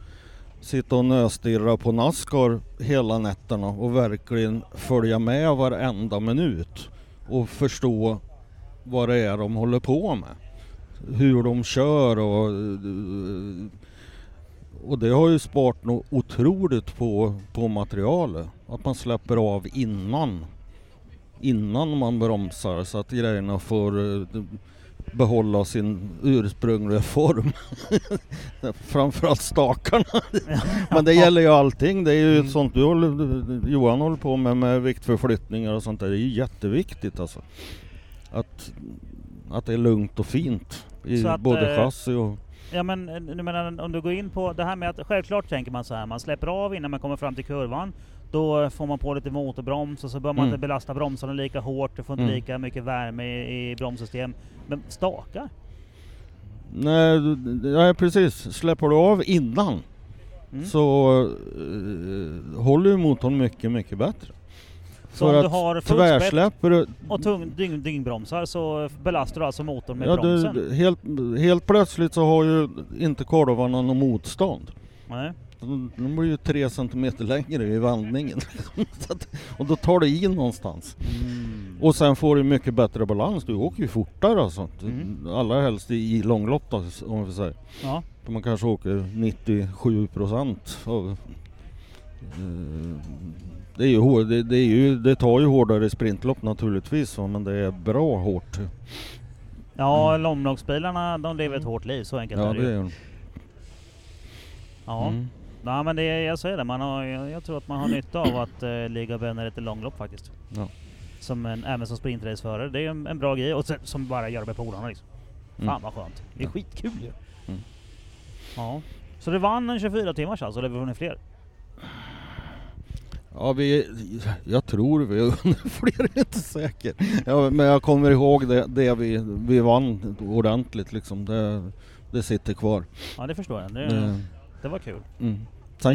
sitta och nöstirra på Nascar hela nätterna och verkligen följa med varenda minut och förstå vad det är de håller på med. Hur de kör och... Och det har ju sparat något otroligt på, på materialet. Att man släpper av innan. Innan man bromsar så att grejerna får eh, behålla sin ursprungliga form. Framförallt stakarna. Men det gäller ju allting. Det är ju
Mm.
sånt du håller, Johan håller på med, med viktförflyttningar och sånt där. Det är ju jätteviktigt alltså. Att, att det är lugnt och fint i
Så att,
både
eh,
chassi och...
Ja men eh, nu menar om du går in på det här med att självklart tänker man så här, man släpper av innan man kommer fram till kurvan. Då får man på lite motorbroms och så bör man
Mm.
inte belasta bromsarna lika hårt, du får inte
Mm.
lika mycket värme i, i bromssystem. Men stakar?
Nej, du- nej precis. Släpper du av innan
Mm.
så eh, håller ju motorn mycket, mycket bättre.
Så
För
om du
att
har fullt spett
Tvärsläpper du,
och tung, dyng, dyngbromsar så belastar du alltså motorn med
Mm. ja,
bromsen?
du, helt, helt plötsligt så har ju inte korvarna något motstånd.
Nej.
De, de blir ju tre centimeter längre i vandningen. så att, och då tar du i någonstans. Och sen får du mycket bättre balans, du åker ju fortare alltså.
Mm.
Allra helst i, i långlopp då, om vi säger.
Ja.
För man kanske åker 97 procent av... eh, Det, är ju, hår- det, det, är ju, det tar ju hårdare sprintlopp naturligtvis va, men det är bra hårt.
Ja, långloppsbilarna de lever ett hårt liv, så enkelt
Mm.
är
Ja
det
det
ju.
är de.
Ja.
Mm.
Nej men det, är- jag säger det, man har, jag, jag tror att man har nytta av att eh, ligga och böna lite långlopp faktiskt.
Ja.
Som en, även som sprintraceförare, det är en, en bra grej. Och sen, som bara gör det med polarna liksom.
Mm.
Fan vad skönt. Det är
Ja.
skitkul ju.
Mm.
Ja. Så du vann en 24 timmars alltså, eller vann ni fler?
Ja, vi, jag tror vi under fler, jag är inte säker. Ja, men jag kommer ihåg det, det vi, vi vann ordentligt liksom. Det, det sitter kvar.
Ja det förstår jag. Det,
Det,
det var kul.
mm. Sen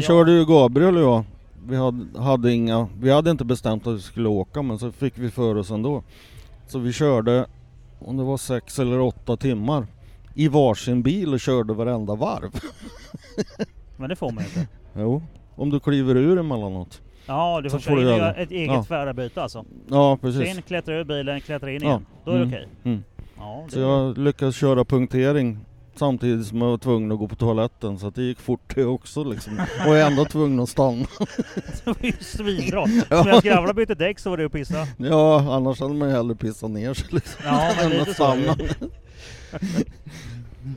Ja.
körde ju Gabriel och jag. Vi hade, hade, inga, vi hade inte bestämt att vi skulle åka men så fick vi för oss ändå. Så vi körde, om det var sex eller åtta timmar, i varsin bil och körde varenda varv.
Men det får man ju inte.
Jo, om du kliver ur emellanåt.
Ja, du får
Så får
köra
du
in och
göra
göra
det.
ett eget
Ja.
tvärbyte alltså.
Ja,
Så
precis.
in, klättra ur bilen, klättra in
Ja.
igen. Då är det
Mm.
okej.
Mm.
Ja, det
Så jag lyckades köra punktering samtidigt som jag var tvungen att gå på toaletten så att det gick fort det också liksom. Och jag är ändå tvungen att stanna.
Det var ju svinbra. Om jag skravlade och bytte däck så var du och pissade.
Ja, annars hade man ju hellre pissat ner sig liksom.
Ja, men
än
lite
att
så är det ju.
stanna.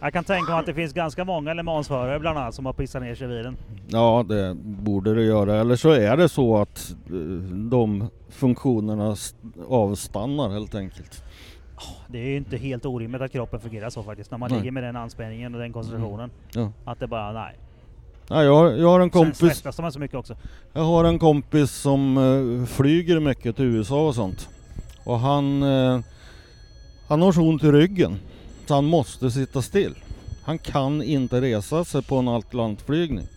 Jag kan tänka mig att det finns ganska många Le Mans-förare bland annat som har pissat ner sig i bilen.
Ja, det borde det göra. Eller så är det så att eh, de funktionerna s- avstannar helt enkelt.
Det är ju inte helt orimligt att kroppen fungerar så faktiskt, när man
Nej. Mm.
ligger med den anspänningen och den koncentrationen.
Ja.
Att det bara, nej.
Ja, jag, har- jag har en
Sen
kompis,
svettas man så mycket också.
jag har en kompis som eh, flyger mycket till USA och sånt. Och han, eh, han har så ont i ryggen så han måste sitta still. Han kan inte resa sig på en atlantflygning.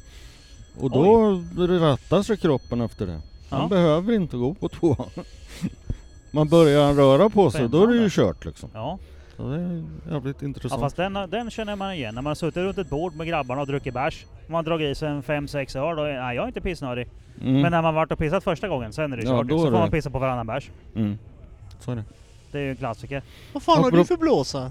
Och då rättar sig kroppen efter det. Han
Ja.
behöver inte gå på toa. Man börjar han röra på sig, då är det ju
Spännande.
kört liksom.
Ja.
Ja, det är jävligt
ja,
intressant.
fast den, den känner man igen. När man har suttit runt ett bord med grabbarna och druckit bärs. Man har dragit i sig en 5-6 öl och nej, jag är inte pissnödig.
mm.
Men när man varit och pissat första gången, sen är det
Ja,
kört. liksom.
då
så
är
får
det-
man pissa på varannan bärs.
mm. Så är det.
Det är ju en klassiker.
Vad fan har
Apropå-
du för blåsa?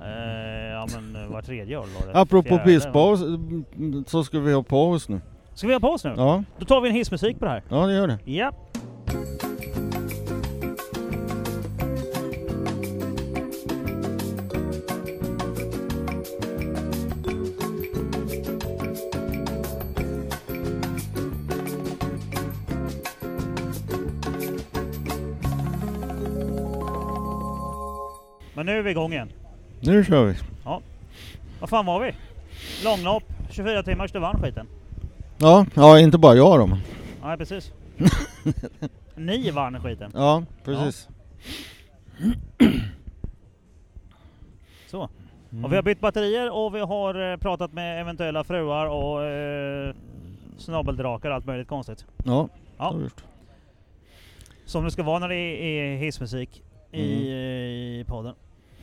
Eh, ja men eh, var tredje öl var det.
Apropå
Fjärde, va?
pisspaus mm, så ska vi ha paus nu.
Ska vi ha paus nu?
Ja,
Då tar vi en hissmusik på det här.
ja det gör det.
Ja. Men nu är vi igång igen.
Nu kör vi.
Vad fan var vi? Långlopp, 24 timmars, du vann skiten.
Ja, ja inte bara jag då. men-
Nej precis. Ni vann skiten.
Ja, precis.
Så.
Mm.
Och vi har bytt batterier och vi har eh, pratat med eventuella fruar och eh, snabeldrakar och allt möjligt konstigt.
Ja,
Ja.
det har vi gjort.
Som det ska vara när det är hissmusik i,
Mm.
eh, i podden.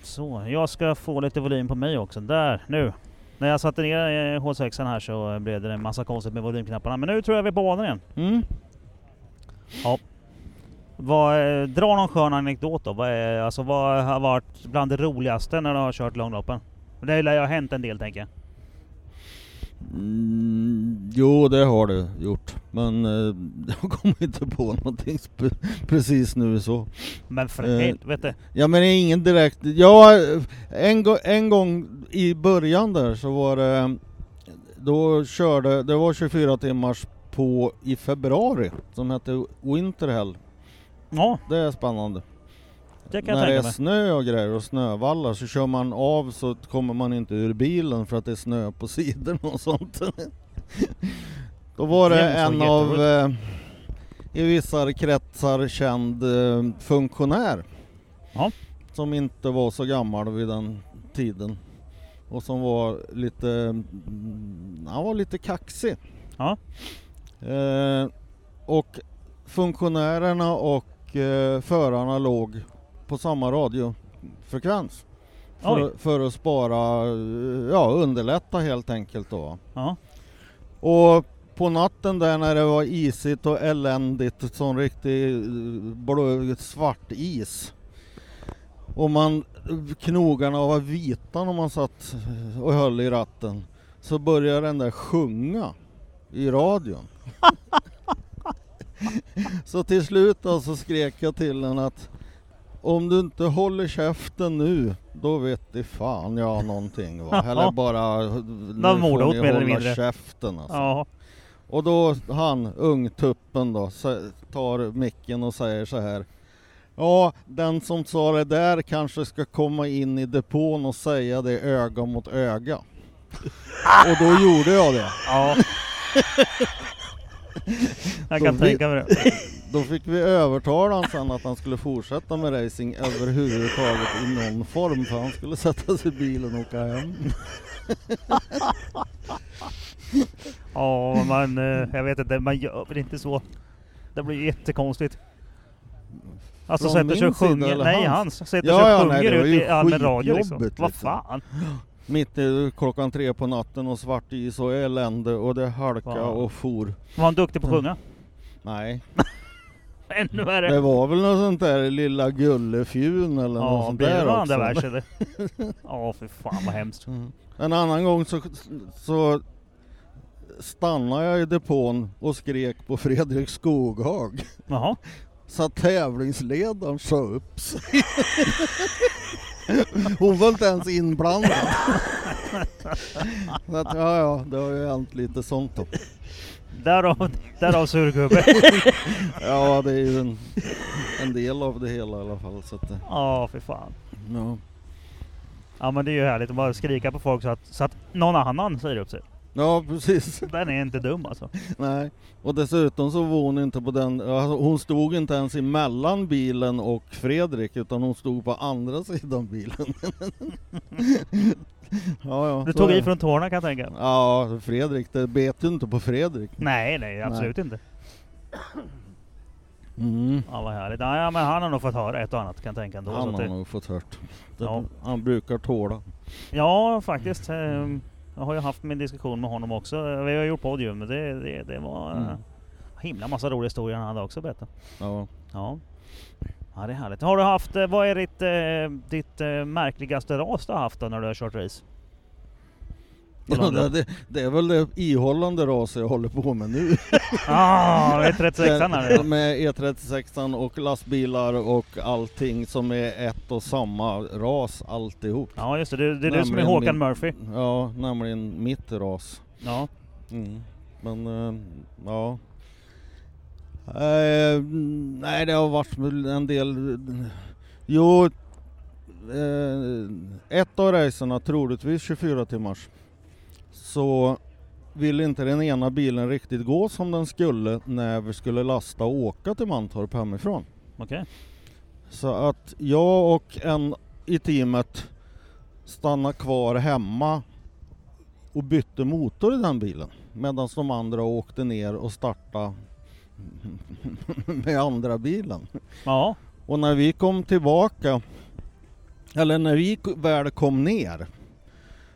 Så, jag ska få lite volym på mig också. Där, nu. När jag satte ner eh, H6 här så blev det en massa konstigt med volymknapparna. Men nu tror jag vi är på banan igen.
Mm.
Vad, eh, dra någon skön anekdot då. Vad, är, alltså, vad har varit bland det roligaste när du har kört långloppen? Det lär ju ha hänt en del tänker jag.
Mm, jo, det har det gjort. Men eh, jag kommer inte på någonting spe- precis nu så.
Men för
Eh,
helvete.
Ja men det är ingen direkt... Ja, en, gå- en gång i början där så var det... Då körde... Det var 24 timmars på i februari som hette Winterhell.
Ja,
Det är spännande.
det kan jag
När det
tänka
är
mig.
snö och grejer och snövallar så kör man av så kommer man inte ur bilen för att det är snö på sidorna och sånt. Då var det
Det är så
en av eh, i vissa kretsar känd eh, funktionär
Ja.
som inte var så gammal vid den tiden och som var lite, mm, han var lite kaxig.
Ja.
Eh, och funktionärerna och eh, förarna låg på samma radiofrekvens.
Oj.
För, för att spara, eh, ja underlätta helt enkelt då.
Ja.
Och på natten där när det var isigt och eländigt, sån riktig eh, blå, svart is. Och man, eh, knogarna var vita när man satt eh, och höll i ratten. Så började den där sjunga i radion. så till slut då så skrek jag till den att om du inte håller käften nu, då vet i fan jag någonting va. Eller bara, nu
var mordhot, mer
får ni
eller
hålla
mindre.
käften alltså.
Ja.
Och då han, ungtuppen då, sä- tar micken och säger så här. Ja, den som sa det där kanske ska komma in i depån och säga det öga mot öga. Och då gjorde jag det.
ja. jag
Då
kan
vi-
tänka mig det.
Då fick vi övertala honom sen att han skulle fortsätta med racing överhuvudtaget i någon form för han skulle sätta sig i bilen och åka hem.
Ja, man, eh, jag vet inte, man gör väl inte så. Det blir ju jättekonstigt. Alltså
Från
sätter sig och
min sida
sjunger,
eller
nej
hans?
hans, sätter
Ja,
sig
ja,
och
nej,
sjunger
det var
ut
ju
i allmän radio liksom.
skitjobbigt,
Vad
liksom.
fan?
Mitt i klockan tre på natten och svart is och elände och det halka
Wow.
och for.
Var han duktig på att sjunga?
Nej.
Ännu värre.
Det var väl något sånt där Lilla Gullefjun eller något
Ja,
sånt
blir det
där
någon
också.
andra vers eller? Ja, för fan vad hemskt.
Mm. En annan gång så, så stannade jag i depån och skrek på Fredrik Skoghag.
Jaha.
Så att tävlingsledaren sa upp sig. Hon var inte ens inblandad. Så att, ja, ja, det har ju hänt lite sånt då.
Därav, därav surgubbe.
Ja, det är ju en, en del av det hela i alla fall. Så att, det-
Ja, för fan.
ja.
Ja men det är ju härligt att bara skrika på folk så att, så att någon annan säger upp sig.
ja, precis.
Den är inte dum alltså.
Nej, och dessutom så var hon inte på den, alltså, hon stod inte ens emellan bilen och Fredrik utan hon stod på andra sidan bilen. ja, ja,
Du
så
tog
är
i
det.
från tårna kan jag tänka.
Ja, Fredrik, det bet ju inte på Fredrik.
Nej, nej absolut inte.
Mm.
Ja vad härligt. Ja men han har nog fått höra ett och annat kan jag tänka ändå. så
Han
att
har
det,
nog fått hört. Det,
Ja.
Han brukar tåla.
Ja, faktiskt. ehm, Jag har ju haft min diskussion med honom också. Vi har gjort podd ju, men det, det, det var
Mm.
mm. himla massa roliga historier han hade också berättat.
Ja.
Ja. ja, det är härligt. Har du haft, eh, vad är ditt, eh, ditt eh, märkligaste ras du har haft då när du har kört race? På
Det,
landet.
det, det är väl det ihållande raset jag håller på med nu.
Ah, 136 an är det.
Med E36 och lastbilar och allting som är ett och samma ras alltihop.
Ja just det, det, det är du som är
Nämligen
Håkan
min-
Murphy.
Ja, nämligen mitt ras.
Ja.
Men eh, ja. Eh, nej, det har varit en del. Jo, eh, ett av racerna, troligtvis 24 timmars, så ville inte den ena bilen riktigt gå som den skulle när vi skulle lasta och åka till Mantorp hemifrån.
Okej.
Så att jag och en i teamet stannade kvar hemma och bytte motor i den bilen medan de andra åkte ner och startade med andra bilen.
Ja.
Och när vi kom tillbaka, eller när vi k- väl kom ner,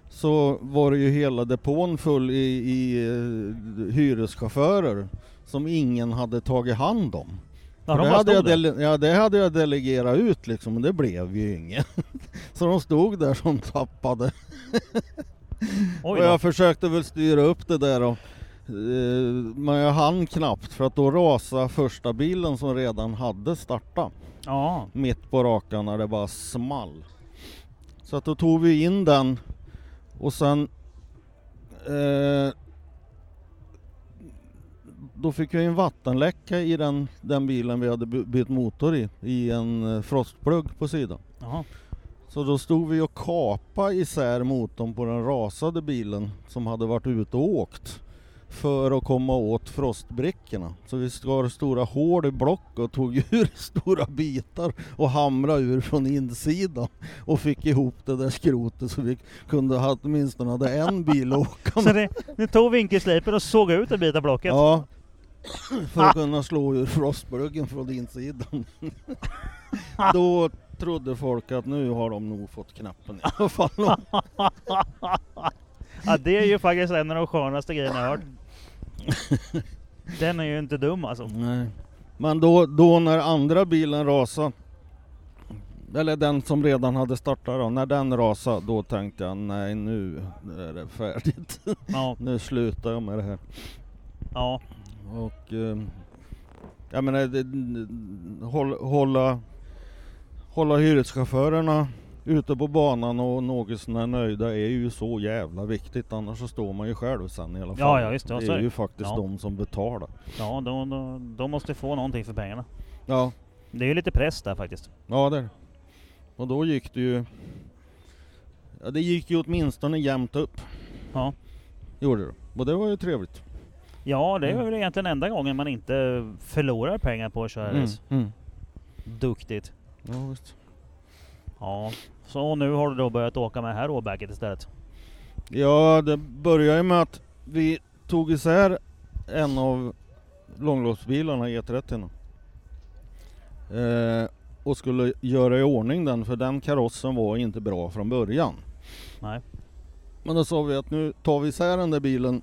så var det ju hela depån full i, i eh, hyreschaufförer som ingen hade tagit hand om.
Ja,
För
de
det,
bara
hade jag
stod där.
dele- ja, det hade jag delegerat ut liksom, men det blev ju inget. Så de stod där som tappade.
Oj
Och
då.
jag försökte väl styra upp det där och, eh, men jag hann knappt för att då rasade första bilen som redan hade startat
Ja.
mitt på rakan när det bara small. Så att då tog vi in den och sen eh, då fick vi en vattenläcka i den, den bilen vi hade by- bytt motor i, i en eh, frostplugg på sidan.
Jaha.
Så då stod vi och kapade isär motorn på den rasade bilen som hade varit ute och åkt för att komma åt frostbrickorna. Så vi skar stora hål i block och tog ur stora bitar och hamrade ur från insidan och fick ihop det där skrotet så vi kunde ha åtminstone hade en bil att åka
Så
med.
det, ni tog vinkelslipen och såg ut en bit av blocket?
Ja, för att kunna slå ur frostpluggen från insidan. Då trodde folk att nu har de nog fått knappen i alla fall.
Ja, det är ju faktiskt en av de skönaste grejerna jag har hört. Den är ju inte dum alltså.
Nej. Men då, då när andra bilen rasade, eller den som redan hade startat då, när den rasade då tänkte jag nej nu är det färdigt.
Ja,
Nu slutar jag med det här.
ja,
Och eh, jag menar, det, håll, hålla, hålla hyreschaufförerna ute på banan och något sånär nöjda är ju så jävla viktigt annars så står man ju själv sen i alla fall.
Ja, ja, just det. Ja,
det
så är
är
det.
ju faktiskt
Ja.
de som betalar.
ja de, de, de måste få någonting för pengarna.
Ja,
Det är ju lite press där faktiskt.
Ja det är det. Och då gick det ju... Ja, det gick ju åtminstone jämnt upp.
Ja.
Gjorde det. Och det var ju trevligt.
Ja, det är
Mm.
väl egentligen enda gången man inte förlorar pengar på att köra race.
Mm.
Duktigt.
Ja, visst.
Ja, så nu har du då börjat åka med det här åbäket istället?
ja, det började ju med att vi tog isär en av långloppsbilarna, E30. Eh, och skulle göra i ordning den, för den karossen var inte bra från början.
Nej.
Men då sa vi att nu tar vi isär den där bilen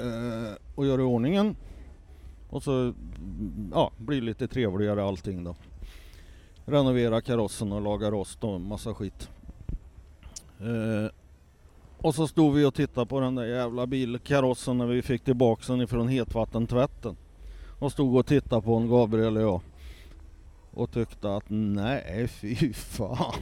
eh, och gör i ordningen. Och så mm, ja, blir det lite trevligare allting då. Renovera karossen och laga rost och massa skit. Eh, och så stod vi och tittade på den där jävla bilkarossen när vi fick tillbaka den ifrån hetvattentvätten. Och stod och tittade på den, Gabriel och jag. Och tyckte att nej, fy fan.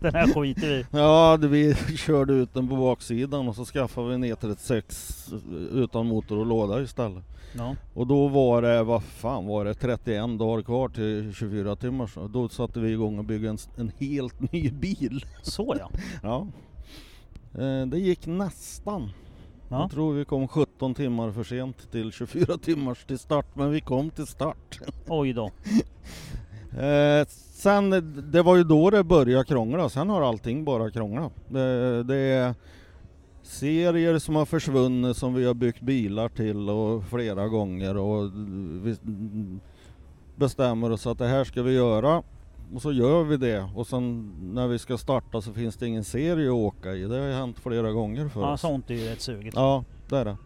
Den här skiter vi i.
Ja, det- vi körde ut den på baksidan och så skaffade vi en E36 utan motor och låda istället.
Ja.
Och då var det, vad fan var det, 31 dagar kvar till 24 timmars. Och Då satte vi igång och byggde en, s- en helt ny bil.
Så ja.
Ja. Eh, Det gick nästan.
Ja.
Jag tror vi kom 17 timmar för sent till 24 timmars till start, men vi kom till start.
Oj då.
Eh, sen, det var ju då det började krångla, sen har allting bara krånglat. Eh, det är serier som har försvunnit som vi har byggt bilar till och flera gånger och vi bestämmer oss att det här ska vi göra och så gör vi det och sen när vi ska starta så finns det ingen serie att åka i. Det har ju hänt flera gånger för
Ja,
oss.
sånt är ju rätt sugigt.
Ja, det är det.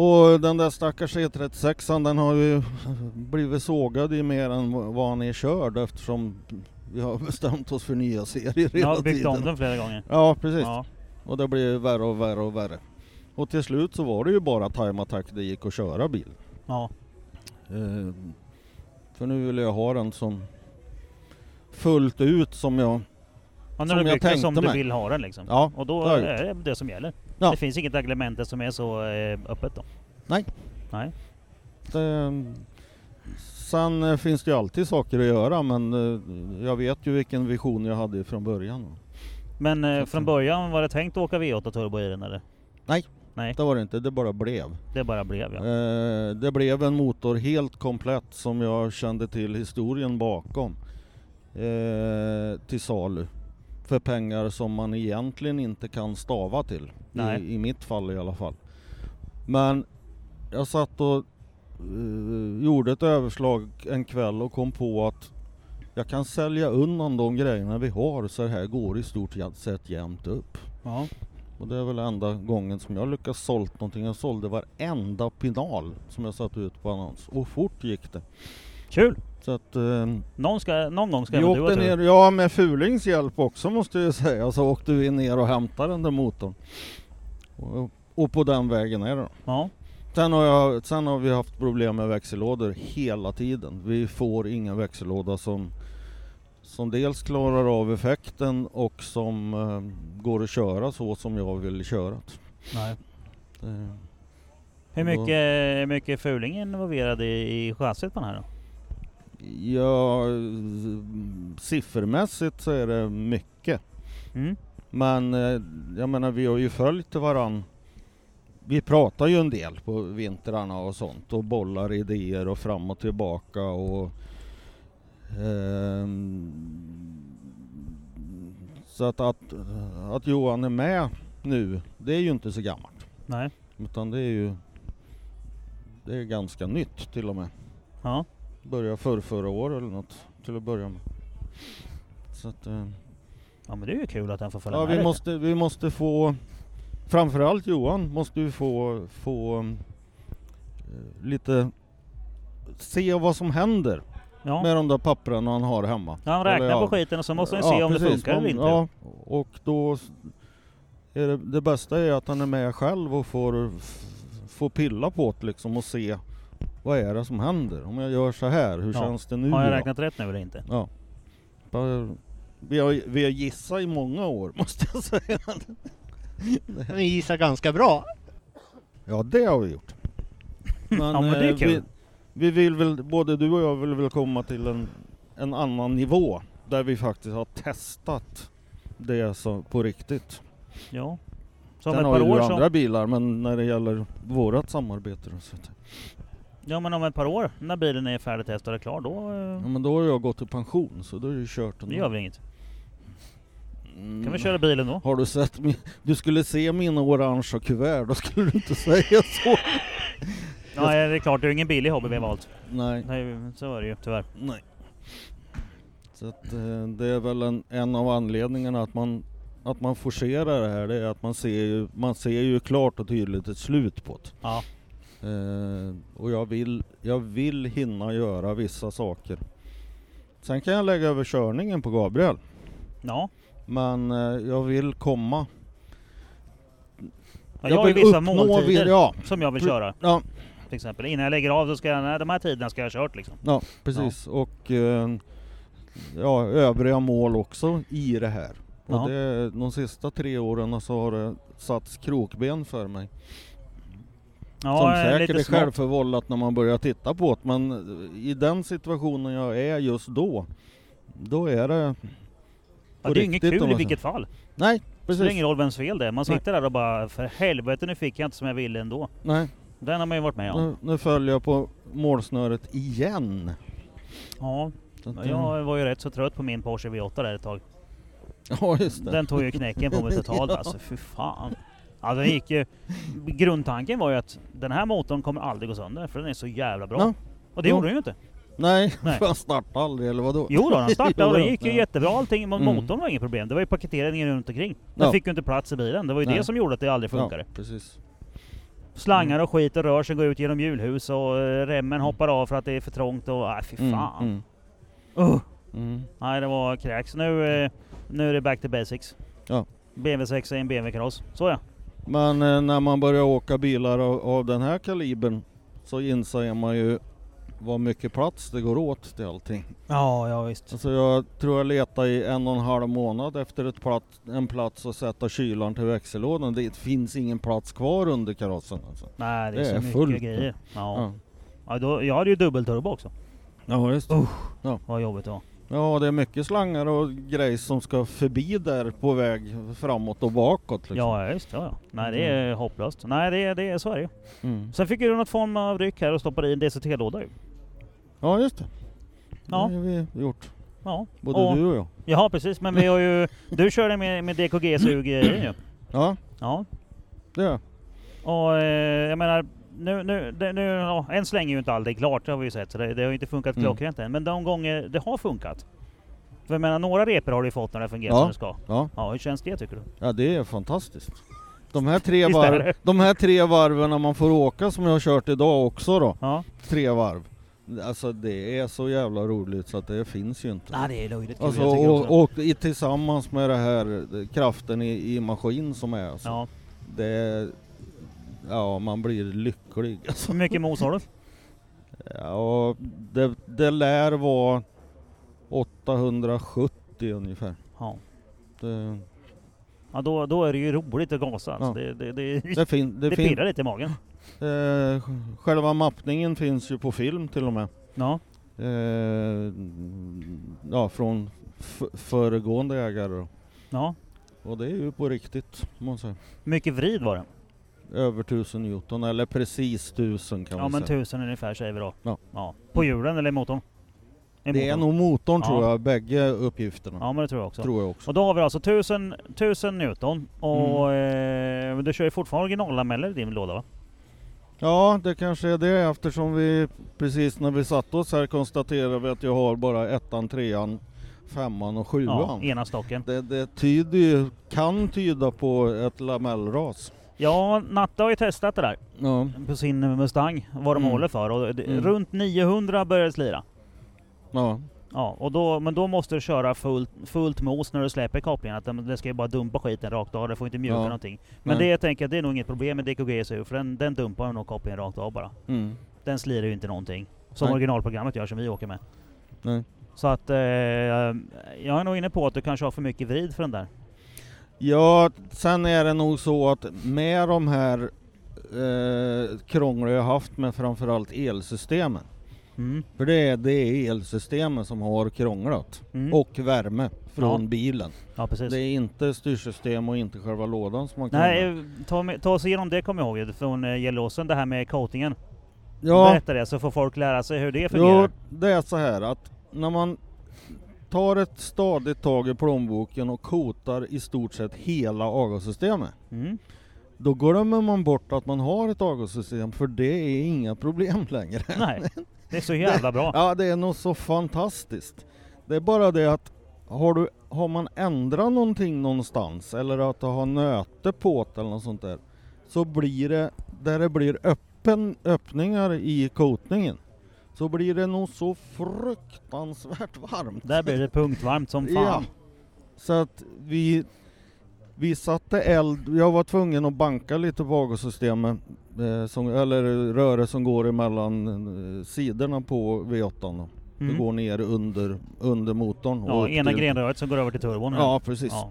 Och den där stackars E36 den har ju blivit sågad i mer än vad han är körd eftersom vi har bestämt oss för nya serier
Jag
hela
har byggt
tiden.
om den flera gånger.
Ja, precis.
Ja.
Och det blir värre och värre och värre. Och till slut så var det ju bara time attack det gick att köra bil.
ja.
Eh, för nu vill jag ha den som fullt ut som jag...
Och
Som
när du
jag
byggt den som
tänkte
du
mig.
vill ha den liksom.
Ja,
Och då
det har jag
är det det som gäller.
Ja.
Det finns inget reglemente som är så eh, öppet då.
Det, eh, sen eh, finns det ju alltid saker att göra men eh, jag vet ju vilken vision jag hade från början.
Men eh,
Exakt.
från början var det tänkt att åka V8 turbo i den eller?
Det var det inte, det bara blev.
Det bara blev ja.
Eh, Det blev en motor helt komplett som jag kände till historien bakom. eh, Till salu. För pengar som man egentligen inte kan stava till.
Nej.
I, I mitt fall i alla fall. Men jag satt och eh, gjorde ett överslag en kväll och kom på att jag kan sälja undan de grejerna vi har så det här går i stort sett jämnt upp.
ja.
Och det är väl enda gången som jag lyckats sålt någonting. Jag sålde varenda pinal som jag satte ut på annons. Och fort gick det.
Kul!
Så att... Eh,
Någon, ska, någon gång ska
vi
även du ha
åkte
tur.
ner, ja med Fulings hjälp också måste jag ju säga, så åkte vi ner och hämtade den där motorn. Och, och på den vägen är det då.
Ja.
Sen har, jag, sen har vi haft problem med växellådor hela tiden. Vi får ingen växellåda som, som dels klarar av effekten och som eh, går att köra så som jag vill köra.
Nej.
Det,
Hur
Då-
mycket, hur mycket fuling är involverad i, i chassit på den här då?
Ja, s- siffermässigt så är det mycket.
Mm.
Men eh, jag menar, vi har ju följt varann. Vi pratar ju en del på vintrarna och sånt och bollar idéer och fram och tillbaka och ehm, så att, att, att Johan är med nu, det är ju inte så gammalt.
Nej.
Utan det är ju det är ganska nytt till och med
Ja.
började förr förra året eller något till att börja med. Så att, eh,
ja men det är ju kul att den får följa
ja,
med
vi,
lite.
måste, vi måste få, framförallt Johan måste ju få, få eh, lite se vad som händer
Ja.
med de där pappren han har hemma.
Han
Eller
räknar
ja.
på skiten och så måste han se om det
precis.
funkar eller
Om-
inte.
Ja, och då s- är det, det bästa är att han är med själv och får, f- får pilla på det liksom och se vad är det som händer? Om jag gör så här, hur
Ja.
känns det nu?
Har jag
då?
räknat rätt nu eller inte?
Ja. Bara- Vi har, vi har gissat i många år måste jag säga.
Ni gissar ganska bra.
Ja det har vi gjort.
Ja, men det är
eh,
kul.
Vi, vi vill väl, både du och jag vill väl komma till en, en annan nivå. Där vi faktiskt har testat det som, på riktigt.
Ja. Så om
Sen
ett
har
par
ju du
år
andra
så,
bilar men när det gäller vårat samarbete då, så att,
Ja men om ett par år, när bilen är färdigtestad och klar, då... eh,
ja, men då har jag gått i pension så då är det ju kört
Det
ändå.
gör väl inget.
Mm.
Kan vi köra bilen då?
Har du sett min... Du skulle se mina orangea kuvert, då skulle du inte säga så.
Ja det är klart, det är ju ingen billig hobby vi har valt.
Nej.
Nej, så är det ju tyvärr.
Nej. Så att, eh, det är väl en, en av anledningarna att man, att man forcerar det här, det är att man ser, ju, man ser ju klart och tydligt ett slut på det.
Ja.
Eh, och jag vill, jag vill hinna göra vissa saker. Sen kan jag lägga över körningen på Gabriel.
Ja.
Men eh, jag vill komma.
Jag, har ju vissa måltider
vi- Ja,
som jag vill
Pre-
köra
ja,
till exempel. Innan jag lägger av så ska jag, nej, de här tiderna ska jag ha kört liksom.
ja precis. Och eh, ja, övriga mål också i det här. Och
Ja.
det, de sista tre åren så har det satts krokben för mig.
Ja,
som
eh,
säkert är
smått.
självförvållat när man börjar titta på det, men eh, i den situationen jag är just då, då är det...
ja, Det är ju inget
riktigt,
kul
om
i
man
vilket fall.
Nej,
Det spelar
precis.
ingen roll vems fel det är. Man
Nej.
sitter där och bara för helvete nu fick jag inte som jag ville ändå.
Nej,
Den har man ju varit med om.
nu, nu följer jag på målsnöret igen.
Ja,
Så att, eh,
jag var ju rätt så trött på min Porsche V8 där ett tag.
ja, just det.
Den tog ju knäcken på mig totalt
Ja.
alltså, fy fan. Alltså den gick ju... Grundtanken var ju att den här motorn kommer aldrig gå sönder för den är så jävla bra.
Ja.
Och det
Ja.
gjorde den ju inte.
Nej,
Nej.
för jag startade aldrig eller vadå?
Jo då, den startade och
Jo
det
då,
gick ju
ja. jättebra.
jättebra allting. Men
Mm.
motorn var inget problem. Det var ju paketeringen runt omkring. Den
Ja.
fick ju inte plats i bilen. Det var ju det
Nej.
som gjorde att det aldrig funkade.
Ja, Mm. precis.
Slangar och skit och rör sig går ut genom hjulhus och eh, remmen hoppar av för att det är för trångt och... Nej, fy fan.
Mm,
Uh.
mm, mm.
Nej, det var kräks. Nu, eh, nu är det back to basics.
Ja.
BMW 6 är en BMW Cross. Så ja.
Men eh, när man börjar åka bilar av, av den här kalibern så inser man ju vad mycket plats det går åt till allting.
Ja, ja visst.
Alltså jag tror jag letade i en och en halv månad efter ett plats, en plats att sätta kylaren till växellådan. Det finns ingen plats kvar under karossen alltså.
Nej, det är,
Det är
så
fullt.
mycket grejer. Ja.
Ja,
Ja. då, jag hade ju dubbelturbo också.
ja just det.
Vad jobbigt det var.
Ja, det är mycket slangar och grejer som ska förbi där på väg framåt och bakåt. Liksom.
Ja, ja, visst. Ja, ja. Nej, det är hopplöst. Nej, det, det är så är det ju.
Mm.
Sen fick du något form av ryck här och stoppade i en DCT-låda ju.
ja, just det.
Ja.
Det har vi gjort.
Ja.
Både
och,
du och jag.
Ja, precis. Men vi har ju... Du körde med, med DKG sug ju.
Ja,
Ja.
det är
Och eh, jag menar, nu, nu, det, nu, ja, än så länge är ju inte allt det är klart, det har vi ju sett. Så det, det har ju inte funkat
Mm.
klockrent än. Men de gånger det har funkat. För jag menar, några repor har du ju fått när det fungerar
Ja.
som det ska.
Ja.
Ja, hur känns det tycker du?
Ja det är fantastiskt. De här, tre
Visst är
varv,
det?
de här tre varven man får åka som jag har kört idag också då,
Ja.
tre varv. Alltså det är så jävla roligt så att det finns ju inte.
Nej, det är löjligt kul.
Alltså,
jag tycker också.
och, och i, tillsammans med det här eh, kraften i, i maskin som är alltså.
Ja.
Det är, ja man blir lycklig alltså.
Hur mycket mos har du?
Ja, och det, det lär vara 870 ungefär.
Ja.
Det,
Ja, då, då är det ju roligt att gasa. Alltså. Det,
Ja.
det, det, det,
det, fin, det, fin,
pirrar lite i magen.
eh, sj- själva mappningen finns ju på film till och med.
Ja.
Eh, ja, från f- föregående ägare. då.
ja.
Och det är ju på riktigt, måste jag säga.
Mycket vrid var det.
Över 1000 Newton, eller precis 1000 kan
Ja,
man
men typ
säga.
tusen ungefär säger vi då.
Ja.
På hjulen eller i motorn? I
Det är
motorn.
nog motorn tror
Ja.
jag, bägge uppgifterna.
Ja, men det tror jag också.
Tror jag också.
Och då har vi alltså 1000, 1000 Newton och
Mm.
eh, men du kör ju fortfarande originalameller i din låda va?
Ja, det kanske är det eftersom vi precis när vi satt oss här konstaterade vi att jag har bara ettan, trean, femman och
Ja,
sjuan.
ena stocken.
det, det tyder ju, kan tyda på ett lamellras.
Ja, Natta har ju testat det där
Ja.
på sin Mustang, vad de
Mm.
håller för. Och det,
Mm.
Runt 900 börjar det slira.
ja.
Ja, och då, men då måste du köra fullt, fullt mos när du släpper kopplingen. Att den- det ska ju bara dumpa skiten rakt av, det får inte mjuka
Ja.
någonting. Men
Nej.
det jag tänker att det är nog inget problem med DKG SU, för den, den dumpar nog kopplingen rakt av bara.
Mm.
Den slirar ju inte någonting. Som
Nej.
originalprogrammet gör som vi åker med.
Nej.
Så att eh, jag är nog inne på att du kanske har för mycket vrid för den där.
Ja, sen är det nog så att med de här eh, krångel jag haft med framförallt elsystemen.
Mm.
För det är, det är elsystemen som har krånglat.
Mm.
Och värme från
Ja.
bilen.
ja, precis.
Det är inte styrsystem och inte själva lådan som har krånglat.
Nej, eh, ta, med- ta oss igenom det kommer jag ihåg från eh, Gelåsen, det här med coatingen.
ja,
Berätta det så får folk lära sig hur det
jo,
fungerar.
det är så här att när man tar ett stadigt tag i plånboken och kotar i stort sett hela avgassystemet.
Mm.
Då glömmer man bort att man har ett avgassystem för det är inga problem längre.
Nej, det är så jävla bra.
Ja, det är nog så fantastiskt. Det är bara det att har, du, har man ändrat någonting någonstans eller att du har nöte på det eller något sånt där så blir det där det blir öppet öppen, öppningar i kotningen så blir det nog så fruktansvärt varmt.
Där blir det punktvarmt som fan.
Så att vi, vi satte eld, jag var tvungen att banka lite på avgassystemet, eh, som, eller röret som går emellan eh, sidorna på V8. Då. Det
Mm.
går ner under, under motorn.
Ja,
upp
ena
till-
grenröret som går över till turbon.
Ja, precis.
Ja.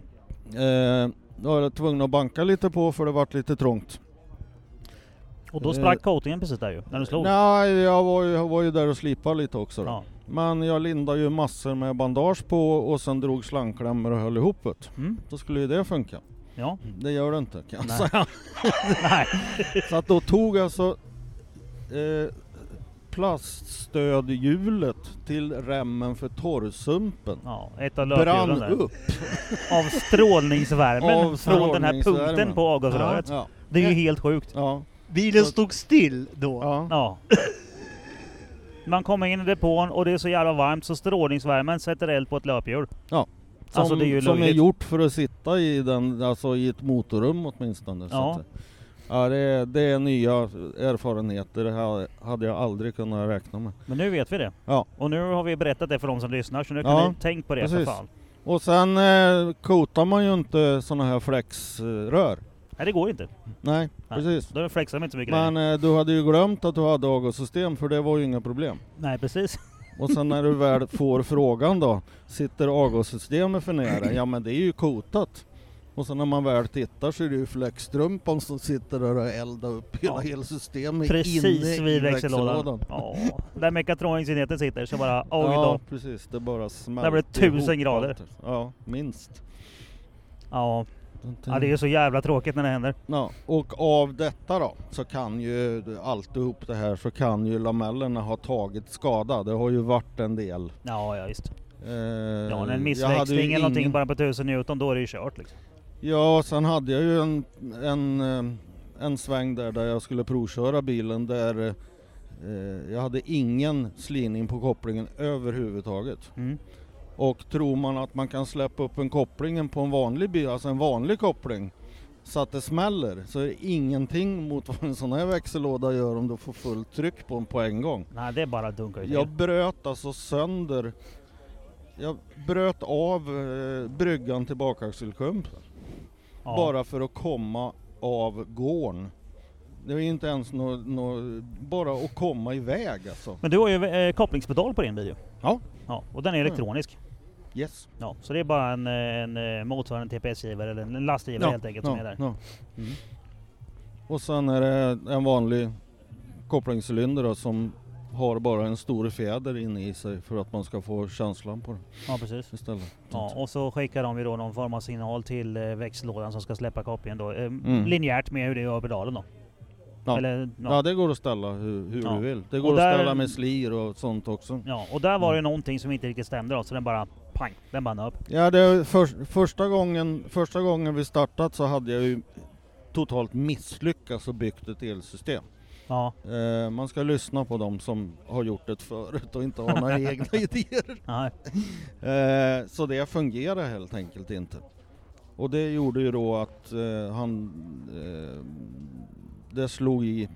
Eh, jag var tvungen att banka lite på för det vart lite trångt.
Och då
Eh,
sprack coatingen precis där ju, när du slog.
Nej, jag var, ju- jag var ju där och slipade lite också. Då.
Ja.
Men jag lindade ju massor med bandage på och sen drog slangklämmor och höll ihop det.
Mm.
Då skulle ju det funka.
Ja.
Det gör det inte kan jag
Nej.
säga.
Nej.
Så att då tog alltså eh, plaststödhjulet till remmen för torrsumpen.
Ja, ett av löphjulen
Brann
där.
upp.
Av strålningsvärmen
Av
från den här
strålningsvärmen.
punkten på avgasröret.
Ja,
Det är ju helt sjukt.
ja,
Bilen stod still då.
ja.
Ja. Man kommer in i depån och det är så jävla varmt så strålningsvärmen sätter eld på ett löphjul.
Som,
Alltså, det är ju
som är
löjligt.
gjort för att sitta i, den, alltså, i ett motorrum åtminstone. Så
Ja.
att, ja, det, är, det är nya erfarenheter, det här hade jag aldrig kunnat räkna med.
Men nu vet vi det.
Ja.
Och nu har vi berättat det för de som lyssnar så nu kan
Ja,
ni tänka på det för
precis.
fan.
Och sen eh, kotar man ju inte sådana här flexrör.
Nej det går inte.
Nej,
Nej.
precis.
Då flexar de inte så mycket
Men
längre.
eh, du hade ju glömt att du hade avgassystem för det var ju inga problem.
Nej precis.
Och sen när du väl får frågan då, sitter avgassystemet för nära? Ja men det är ju kotat. Och sen när man väl tittar så är det ju fläktstrumpan som sitter där och eldar upp hela,
Ja.
hela systemet
Precis
inne i
vid växellådan.
växellådan.
Ja. Där mekatronikenheten sitter så bara oj
ja
då.
precis, det bara smälter
Där blir det tusen
ihop
grader.
allt. Ja, minst.
Ja. ja
Mm.
det är ju så jävla tråkigt när det händer.
Ja, och av detta då så kan ju alltihop det här så kan ju lamellerna ha tagit skada. Det har ju varit en del.
Ja ja visst.
Eh,
Ja en
jag hade ju
missväxling eller någonting
ingen-
bara på 1000 Newton då är det ju kört liksom.
Ja, sen hade jag ju en, en, eh, en sväng där, där jag skulle provköra bilen där eh, eh, jag hade ingen slirning på kopplingen överhuvudtaget.
Mm.
Och tror man att man kan släppa upp en kopplingen på en vanlig bil, alltså en vanlig koppling, så att det smäller, så är det ingenting mot vad en sån här växellåda gör om du får fullt tryck på den på en gång.
Nej det är bara dunkar ju till.
Jag bröt alltså sönder, jag bröt av eh, bryggan till bakaxelklumpen
Ja.
bara för att komma av gården. Det är inte ens nå, nå, bara att komma iväg alltså.
Men du har ju eh, kopplingspedal på din bil ju.
Ja. Mm.
ja. Och den är elektronisk.
Yes.
Ja, så det är bara en, eh, en eh, motsvarande TPS-givare eller en lastgivare helt enkelt som är där.
ja.
Mm.
Och sen är det en vanlig kopplingscylinder då, som har bara en stor fjäder inne i sig för att man ska få känslan på den
Ja precis.
istället.
Ja, och så skickar de ju då någon form av signal till eh, växellådan som ska släppa kopplingen då. Eh, Linjärt med hur det gör pedalen då.
Mm. Ja.
Eller,
Ja. det går att ställa hur, hur
Ja.
du vill. Det
Och
går
där-
att ställa med slir och sånt också.
Ja, och där
Mm.
var det ju någonting som inte riktigt stämde då, så den bara pang, den bara upp.
Ja, det är för, första, gången, första gången vi startat så hade jag ju totalt misslyckats och byggt ett elsystem.
Ja,
Eh, man ska lyssna på dem som har gjort det förut och inte har några egna idéer.
nej.
Eh, så det fungerar helt enkelt inte. Och det gjorde ju då att eh, han... Eh, det slog i...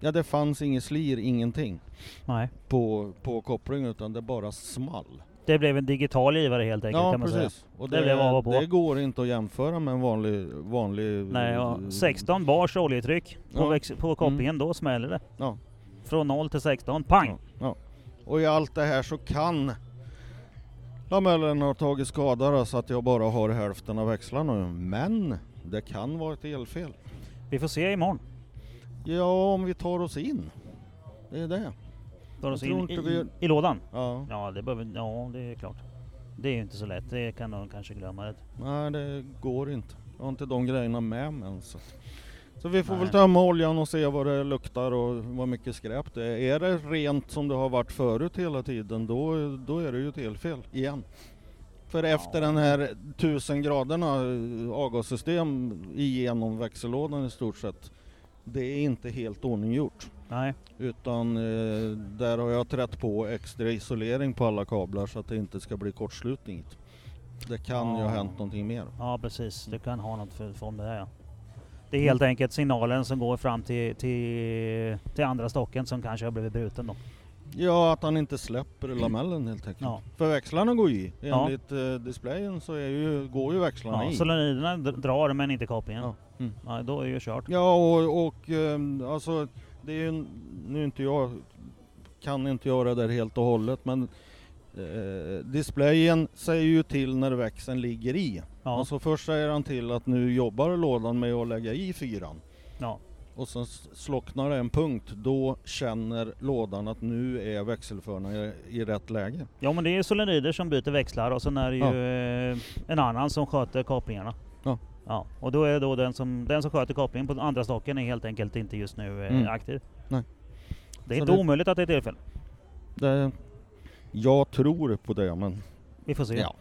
Ja, det fanns ingen slir, ingenting
nej.
på, på kopplingen utan det bara small.
Det blev en digital givare helt enkelt kan man säga.
Och
Det
det,
blev av och på.
det går inte att jämföra med en vanlig... vanlig
Nej, ja.
eh,
16 bars oljetryck på,
Ja. Mm.
väx- på kopplingen, då smäller det.
Ja.
Från 0 till 16, pang!
Ja, ja. Och i allt det här så kan lamellen ha tagit skada då, så att jag bara har hälften av växlarna nu. Men det kan vara ett elfel.
Vi får se imorgon.
Ja, om vi tar oss in. Det är det.
Tar oss
Jag tror
in
inte
i,
vi-
i lådan.
Ja,
Ja det, behöver, ja, det är klart. Det är ju inte så lätt, det kan de kanske glömma. Det.
nej det går inte. Jag har inte de grejerna med mig ens. Så, att- så vi får
Nej.
väl tömma oljan och se vad det luktar och vad mycket skräp det är. Är det rent som det har varit förut hela tiden, då, då är det ju ett elfel igen. För efter den här 1000 graderna eh, avgassystem igenom växellådan i stort sett, det är inte helt ordninggjort.
Nej,
Utan eh, där har jag trätt på extra isolering på alla kablar så att det inte ska bli kortslutning. Det kan ju ha
Ja.
hänt någonting mer. Mm.
ja precis. Du kan ha något för, för om det här ja. Det är helt enkelt signalen som går fram till, till, till andra stocken som kanske har blivit bruten då.
Ja, att han inte släpper lamellen helt enkelt.
Ja.
För växlarna går ju i.
Ja.
Enligt eh, displayen så är ju, går ju växlarna
Ja,
i.
solenoiderna d- drar men inte kopplingen. Ja.
Ja. Mm.
då är det ju kört.
Ja, och, och ehm, alltså, det är ju, en- nu är inte jag, kan inte göra det där helt och hållet, men eh, displayen säger ju till när växeln ligger i.
Ja,
Alltså först säger han till att nu jobbar lådan med att lägga i fyran.
ja,
Och sen s- slocknar det en punkt, då känner lådan att nu är växelföraren i, i rätt läge.
ja men det är ju solenoider som byter växlar och sen är det ju
Ja.
eh, en annan som sköter kopplingarna.
Ja.
Ja, och då är då den som, den som sköter kopplingen på den andra stocken är helt enkelt inte just nu eh,
Mm.
aktiv.
Nej.
Det är
Så
inte
det-
omöjligt att det är tillfälle.
Det, jag tror på det, men
Vi får se.
ja.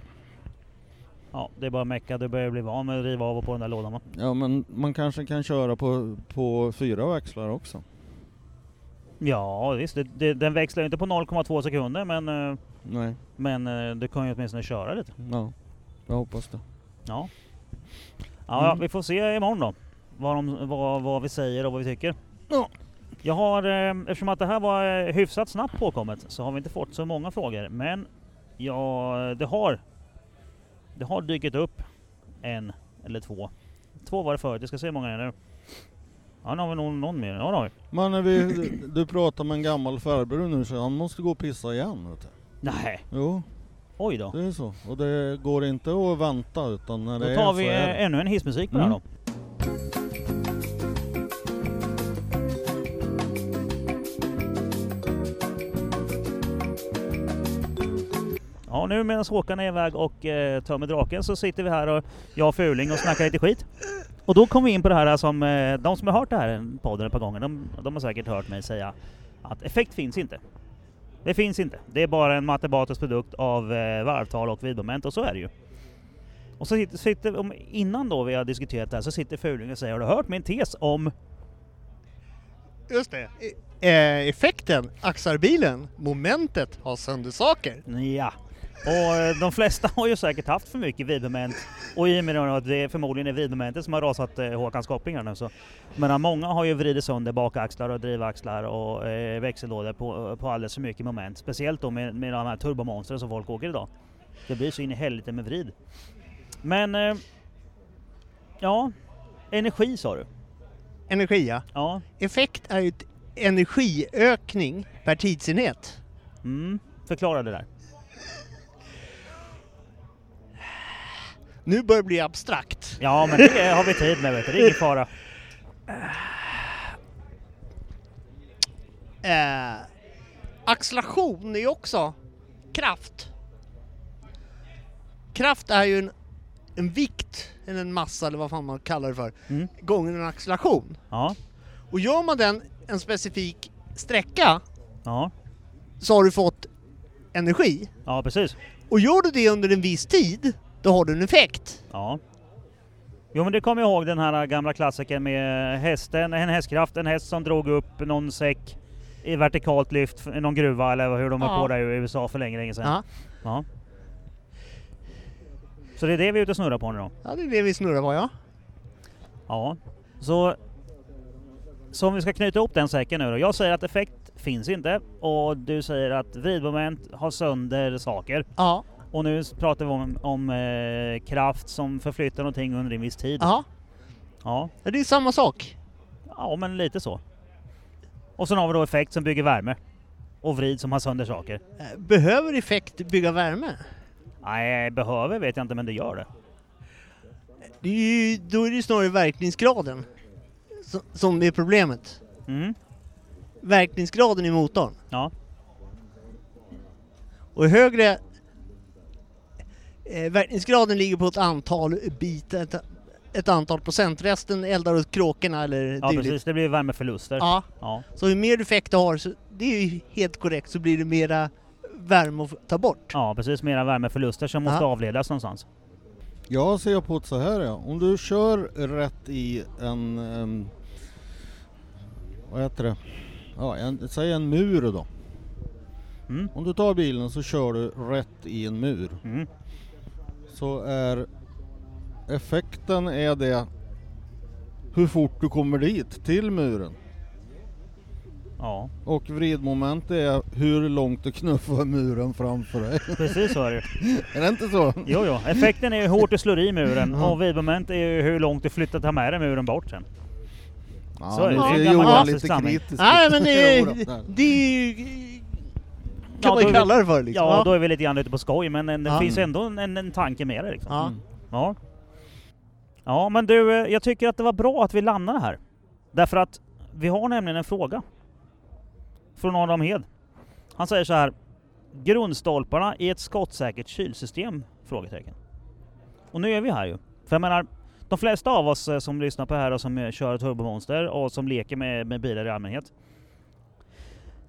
Ja, det är bara att mecka, du börjar bli van med att riva av och på den där lådan va?
ja, men man kanske kan köra på, på fyra växlar också.
Ja visst, det, det, den växlar ju inte på 0,2 sekunder men, eh,
Nej,
men eh, du kan ju åtminstone köra lite.
ja, jag hoppas det.
Ja. Ja, ja,
Mm.
vi får se imorgon då. Vad, de, vad, vad vi säger och vad vi tycker.
Ja.
Jag har, eh, eftersom att det här var eh, hyfsat snabbt påkommet så har vi inte fått så många frågor. Men ja, det har det har dykt upp en eller två. Två var det förut, jag ska se hur många det är nu. Ja, nu har vi nog någon mer. Ja, det har vi.
Men när vi, du pratar med en gammal farbror nu så han måste gå och pissa igen. Vet du.
Nej,
Jo,
oj då.
det är så. Och det går inte att vänta utan när
Då
det
tar
är
vi
så är det.
eh, ännu en hissmusik på det här
Mm.
då. Ja, nu medan Håkan är iväg och eh, tömmer draken så sitter vi här och jag och Fuling och snackar lite skit. Och då kom vi in på det här som, eh, de som har hört det här podden ett par gånger, de, de har säkert hört mig säga att effekt finns inte. Det finns inte. Det är bara en matematisk produkt av eh, varvtal och vidmoment och så är det ju. Och så sitter, sitter om, innan då vi har diskuterat det här så sitter Fuling och säger Har du hört min tes om...
Just det. E- eh, effekten axar bilen, momentet har sönder saker.
Ja. Och eh, de flesta har ju säkert haft för mycket vidmoment och i och med att det förmodligen är vidmomentet som har rasat eh, Håkans kopplingar nu så. Men många har ju vridit sönder bakaxlar och drivaxlar och eh, växellådor på, på alldeles för mycket moment. Speciellt då med, med de här turbomonstren som folk åker idag. Det blir så in i helvete med vrid. Men... Eh, ja. Energi sa du?
Energi ja.
Ja.
Effekt är ju ett energiökning per tidsenhet.
Mm. Förklara det där.
Nu börjar det bli abstrakt.
Ja, men det har vi tid med vet du. Det är ingen fara.
Eh, acceleration är ju också kraft. Kraft är ju en, en vikt, eller en massa eller vad fan man kallar det för,
Mm.
gånger en acceleration.
Ja,
Och gör man den en specifik sträcka
ja,
så har du fått energi.
ja precis.
Och gör du det under en viss tid, då har du en effekt.
Ja. Jo men det kommer jag ihåg den här gamla klassikern med hästen, en hästkraft, en häst som drog upp någon säck i vertikalt lyft, i någon gruva eller hur de var
Ja.
på det i USA för länge, länge sedan.
Ja,
Ja. Så det är det vi är ute och snurrar på nu då?
ja det är det vi snurrar på ja.
Ja. Så, så om vi ska knyta ihop den säcken nu då. Jag säger att effekt finns inte och du säger att vridmoment har sönder saker.
Ja,
Och nu s- pratar vi om, om eh, kraft som förflyttar någonting under en viss tid.
ja.
Ja.
Ja, det är samma sak.
ja, men lite så. Och sen har vi då effekt som bygger värme. Och vrid som har sönder saker.
Eh, Behöver effekt bygga värme?
Nej, behöver vet jag inte, men det gör det.
Det är ju, då är det ju snarare verkningsgraden som, som är problemet.
Mm.
Verkningsgraden i motorn.
Ja.
Och högre... Eh, verkningsgraden ligger på ett antal bitar, ett, ett antal procent. Resten eldar åt kråkorna eller
ja,
dylikt.
precis. Det blir värmeförluster.
Ja,
Ja.
så ju mer effekt du har, så, det är ju helt korrekt, så blir det mera värme att ta bort.
ja, precis. Mera värmeförluster som måste
Ja.
avledas någonstans.
Jag ser på det så här ja, om du kör rätt i en, em, vad heter det, ja, en, säg en mur då.
Mm.
Om du tar bilen så kör du rätt i en mur.
Mm.
så är effekten är det hur fort du kommer dit, till muren.
Ja,
Och vridmoment är hur långt du knuffar muren framför dig.
precis så är det.
är det inte så?
Jo, jo. Effekten är ju hur hårt du slår i muren
Ja.
och vridmoment är ju hur långt du flyttar ta med dig muren bort sen.
Ja,
Så är det.
nu
Det är en
ser
gammal
Johan
klassisk
lite
sanning.
kritisk
Nej men det,
Jo då, där.
det är ju...
Ja,
Kan man
då är
ju
vi-
kalla det för liksom.
Ja, då är vi lite grann ute på skoj, men en, det
Ja.
finns ändå en, en, en tanke med det liksom.
Ja.
Mm.
Ja. Ja, men du, eh, jag tycker att det var bra att vi landade här. Därför att vi har nämligen en fråga. Från Adam Hed. Han säger så här. Grundstolparna i ett skottsäkert kylsystem? Frågetecken. Och nu är vi här ju. För jag menar, de flesta av oss eh, som lyssnar på det här och som eh, kör turbomonster och som leker med, med bilar i allmänhet.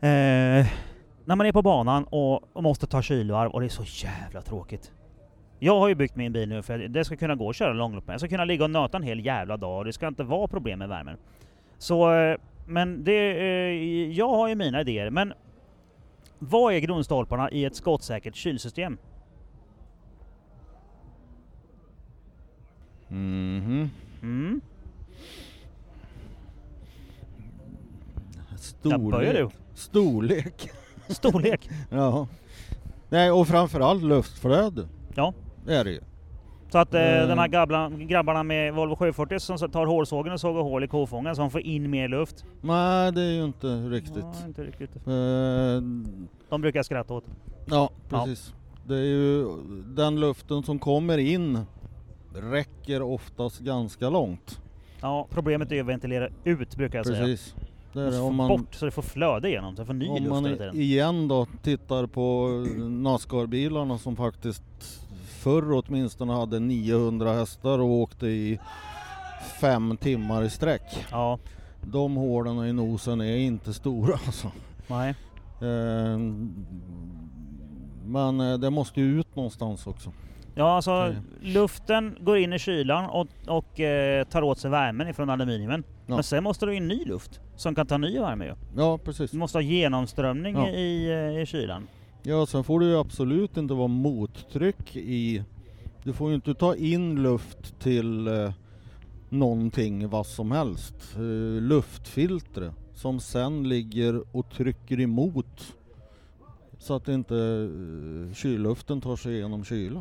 Eh, när man är på banan och, och måste ta kylvarv och det är så jävla tråkigt. Jag har ju byggt min bil nu för att det ska kunna gå att köra långlopp med. Jag ska kunna ligga och nöta en hel jävla dag och det ska inte vara problem med värmen. Så, eh, men det, eh, jag har ju mina idéer. Men vad är grundstolparna i ett skottsäkert kylsystem?
Mhm.
Mm. Där börjar
Storlek.
du.
Storlek.
Storlek.
Ja. Nej, och framförallt luftflöde.
Ja.
Det är det ju.
Så att eh,
Eh.
de här gabbla, grabbarna med Volvo 740 som så- tar hårsågen och sågar hål i kofångaren så de får in mer luft.
Nej, det är ju inte riktigt.
Ja, inte riktigt.
Eh,
De brukar jag skratta åt.
ja, precis. Det är ju den luften som kommer in räcker oftast ganska långt.
Ja, problemet är ju att ventilera ut brukar jag säga.
Precis. Det är
Måste
det.
få
Om man,
bort så det får flöde igenom, så det får ny
om
luft
man
hela tiden.
igen då tittar på Nascar-bilarna som faktiskt förr åtminstone hade 900 hästar och åkte i fem timmar i sträck.
Ja,
De hålen i nosen är inte stora alltså.
nej.
Eh, Men eh, det måste ju ut någonstans också.
Ja, alltså
Okej.
luften går in i kylan och, och eh, tar åt sig värmen ifrån aluminiumen.
Ja.
Men sen måste du in ny luft som kan ta ny värme ju.
Ja precis.
Du måste ha genomströmning
Ja.
i, eh, i kylan.
Ja sen får det ju absolut inte vara mottryck i... Du får ju inte ta in luft till eh, någonting, vad som helst. Eh, luftfiltre som sen ligger och trycker emot så att inte eh, kylluften tar sig igenom kyla.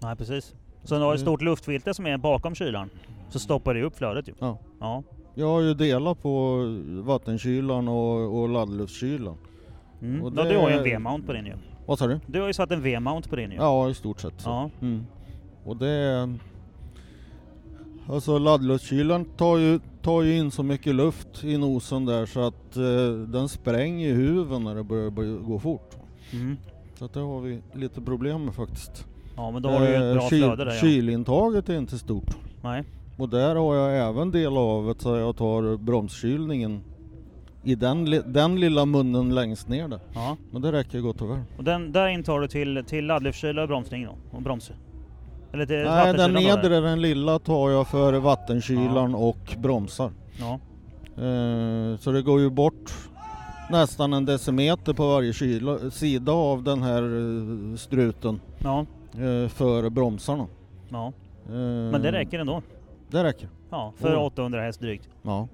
Nej, precis. Så du har ett
Mm.
stort luftfilter som är bakom kylan. Så stoppar det upp flödet ju.
Ja.
Ja.
Jag har ju delat på vattenkylaren och, och laddluftskylaren.
Mm.
Och
ja. Du har ju en
det-
V-mount på din ju.
Vad sa du?
Du har ju satt en V-mount på din ju.
Ja, i stort sett så.
Ja.
Mm. Och det... är- Alltså laddluftskylaren tar ju, tar ju in så mycket luft i nosen där så att eh, den spränger i huven när det börjar, börjar gå fort.
Mm.
Så att det har vi lite problem med faktiskt.
ja, men då har du ju ett
Eh,
bra
kyl-
flöde där ja.
Kylintaget är inte stort.
Nej.
Och där har jag även del av ett så jag tar bromskylningen i den, li- den lilla munnen längst ner där.
Ja.
Men det räcker gott och väl.
Och den, där intar du till, till laddluftkyla och bromsning då? Och broms... Eller till
Nej, den
vattenkyla då, eller?
nedre, den lilla, tar jag för vattenkylaren och bromsar.
Ja.
Eh, så det går ju bort nästan en decimeter på varje kyla, sida av den här eh, struten
Ja.
eh, för bromsarna.
Ja.
Eh,
Men det räcker ändå.
Det räcker.
Ja, för
Oh.
800 häst drygt.
Ja,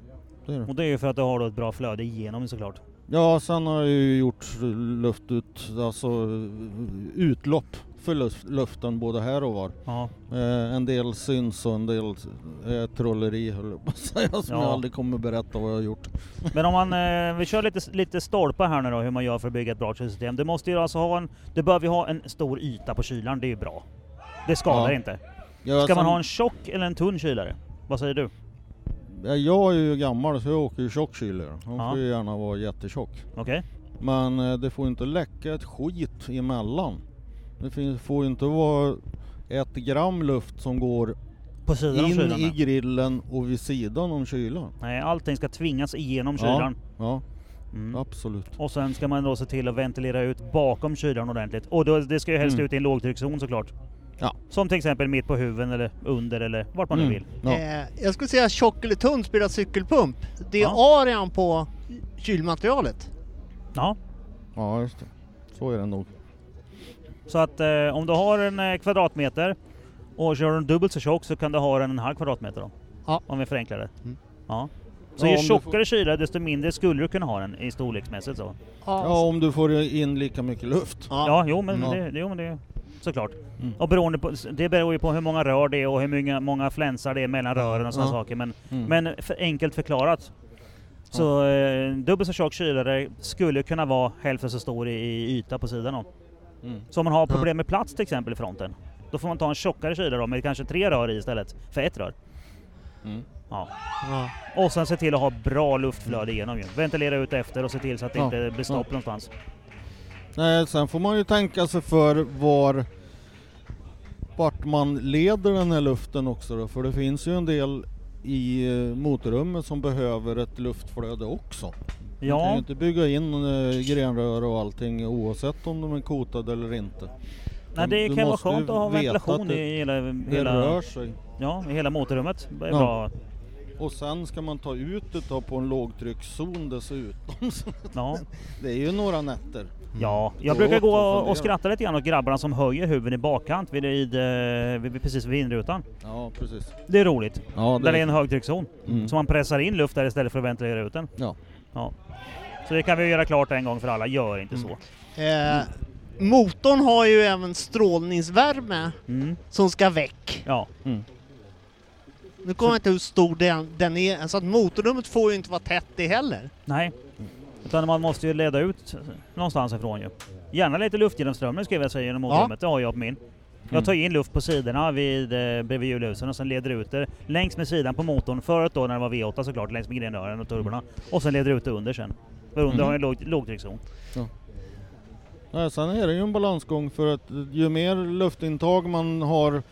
det är det.
Och det är ju för att du har då ett bra flöde igenom såklart.
Ja, sen har jag ju gjort luft ut, alltså eh, utlopp för luft, luften både här och var.
Ja.
Eh, en del syns och en del är trolleri höll jag på att säga, som
Ja.
jag aldrig kommer berätta vad jag har gjort.
Men om man, eh, vi kör lite, lite stolpar här nu då, hur man gör för att bygga ett bra kylsystem. Du måste ju alltså ha en, du behöver ju ha en stor yta på kylaren, det är ju bra. Det skadar
Ja.
inte.
Jag,
Ska man ha en tjock eller en tunn kylare? Vad säger du?
Eh, jag är ju gammal så jag åker ju tjock kylare. Han
Ja.
får ju gärna vara jättetjock.
Okej?
Men eh, det får ju inte läcka ett skit emellan. Det fin- får ju inte vara ett gram luft som går
På sidan om
in
kylaren?
i
ja.
grillen och vid sidan om kylan.
Nej, allting ska tvingas igenom
Ja.
kylaren.
Ja,
Mm.
absolut.
Och sen ska man då se till att ventilera ut bakom kylan ordentligt. Och då, det ska ju helst
Mm.
ut i en lågtryckszon såklart.
Ja.
Som till exempel mitt på huven eller under eller vart man
Mm.
nu vill.
Ja.
Eh, jag skulle säga tjock eller tunn spelar cykelpump. Det är
Ja.
arian på kylmaterialet.
Ja.
ja, just det. Så är det nog.
Så att eh, om du har en eh, kvadratmeter och kör den dubbelt så tjock så kan du ha den en halv kvadratmeter då.
Ja.
Om vi förenklar det.
Mm.
Ja. Så
Ja,
ju
om du
tjockare kyla desto mindre skulle du kunna ha den i storleksmässigt så.
Ja, om du får in lika mycket luft.
Ja,
Ja.
jo men
Ja.
det, jo, men det såklart.
Mm.
Och beroende på, det beror ju på hur många rör det är och hur många, många flänsar det är mellan rören och sådana
Ja.
saker. Men,
Mm.
men för enkelt förklarat. Så eh, dubbelt så tjock kylare skulle kunna vara hälften så stor i, i yta på sidan om.
Mm.
Så om man har problem med plats till exempel i fronten. Då får man ta en tjockare kylare då med kanske tre rör i istället för ett rör.
Mm.
Ja.
Ja.
Och sen se till att ha bra luftflöde igenom ju. Ventilera ut efter och se till så att det
Ja.
inte blir stopp
Ja.
någonstans.
Nej, sen får man ju tänka sig för var vart man leder den här luften också då, för det finns ju en del i eh, motorrummet som behöver ett luftflöde också. Man kan ju
Ja,
inte bygga in eh, grenrör och allting oavsett om de är kotade eller inte.
nej, det
Du
kan vara
måste ju
skönt att ha
veta
ventilation
att det-
i hela,
Det
hela,
rör sig.
ja, i hela motorrummet. Det är
Ja.
bra.
Och sen ska man ta ut det då på en lågtryckszon dessutom. Så
Ja.
det är ju några nätter.
ja, jag
Då
brukar gå
Mm. åt och
och
fundera.
skratta lite grann åt grabbarna som höjer huvudet i bakkant vid, vid, eh, vid, precis vid vindrutan.
Ja, precis.
Det är roligt.
Ja,
Där det är en högtryckszon.
Mm.
Så man pressar in luft där istället för att ventilera ut den.
Ja.
Ja. Så det kan vi göra klart en gång för alla, gör inte så.
Mm.
Eh, motorn har ju även strålningsvärme
Mm.
som ska väck.
Ja.
Nu kommer jag inte hur stor den, den är, så att motorrummet får ju inte vara tätt det heller.
Nej. Utan man måste ju leda ut någonstans ifrån ju. Gärna lite luftgenomströmning skulle jag vilja säga genom motorrummet, det har jag på min.
Mm.
Jag tar ju in luft på sidorna vid, eh, bredvid hjulhusen och sen leder ut det längs med sidan på motorn. Förut då när det var V8 såklart, längs med grenrören och turborna. Och sen leder ut det under sen. För under
Mm.
har jag en låg, lågtryckszon.
Nej, sen är det ju en balansgång för att ju mer luftintag man har eh,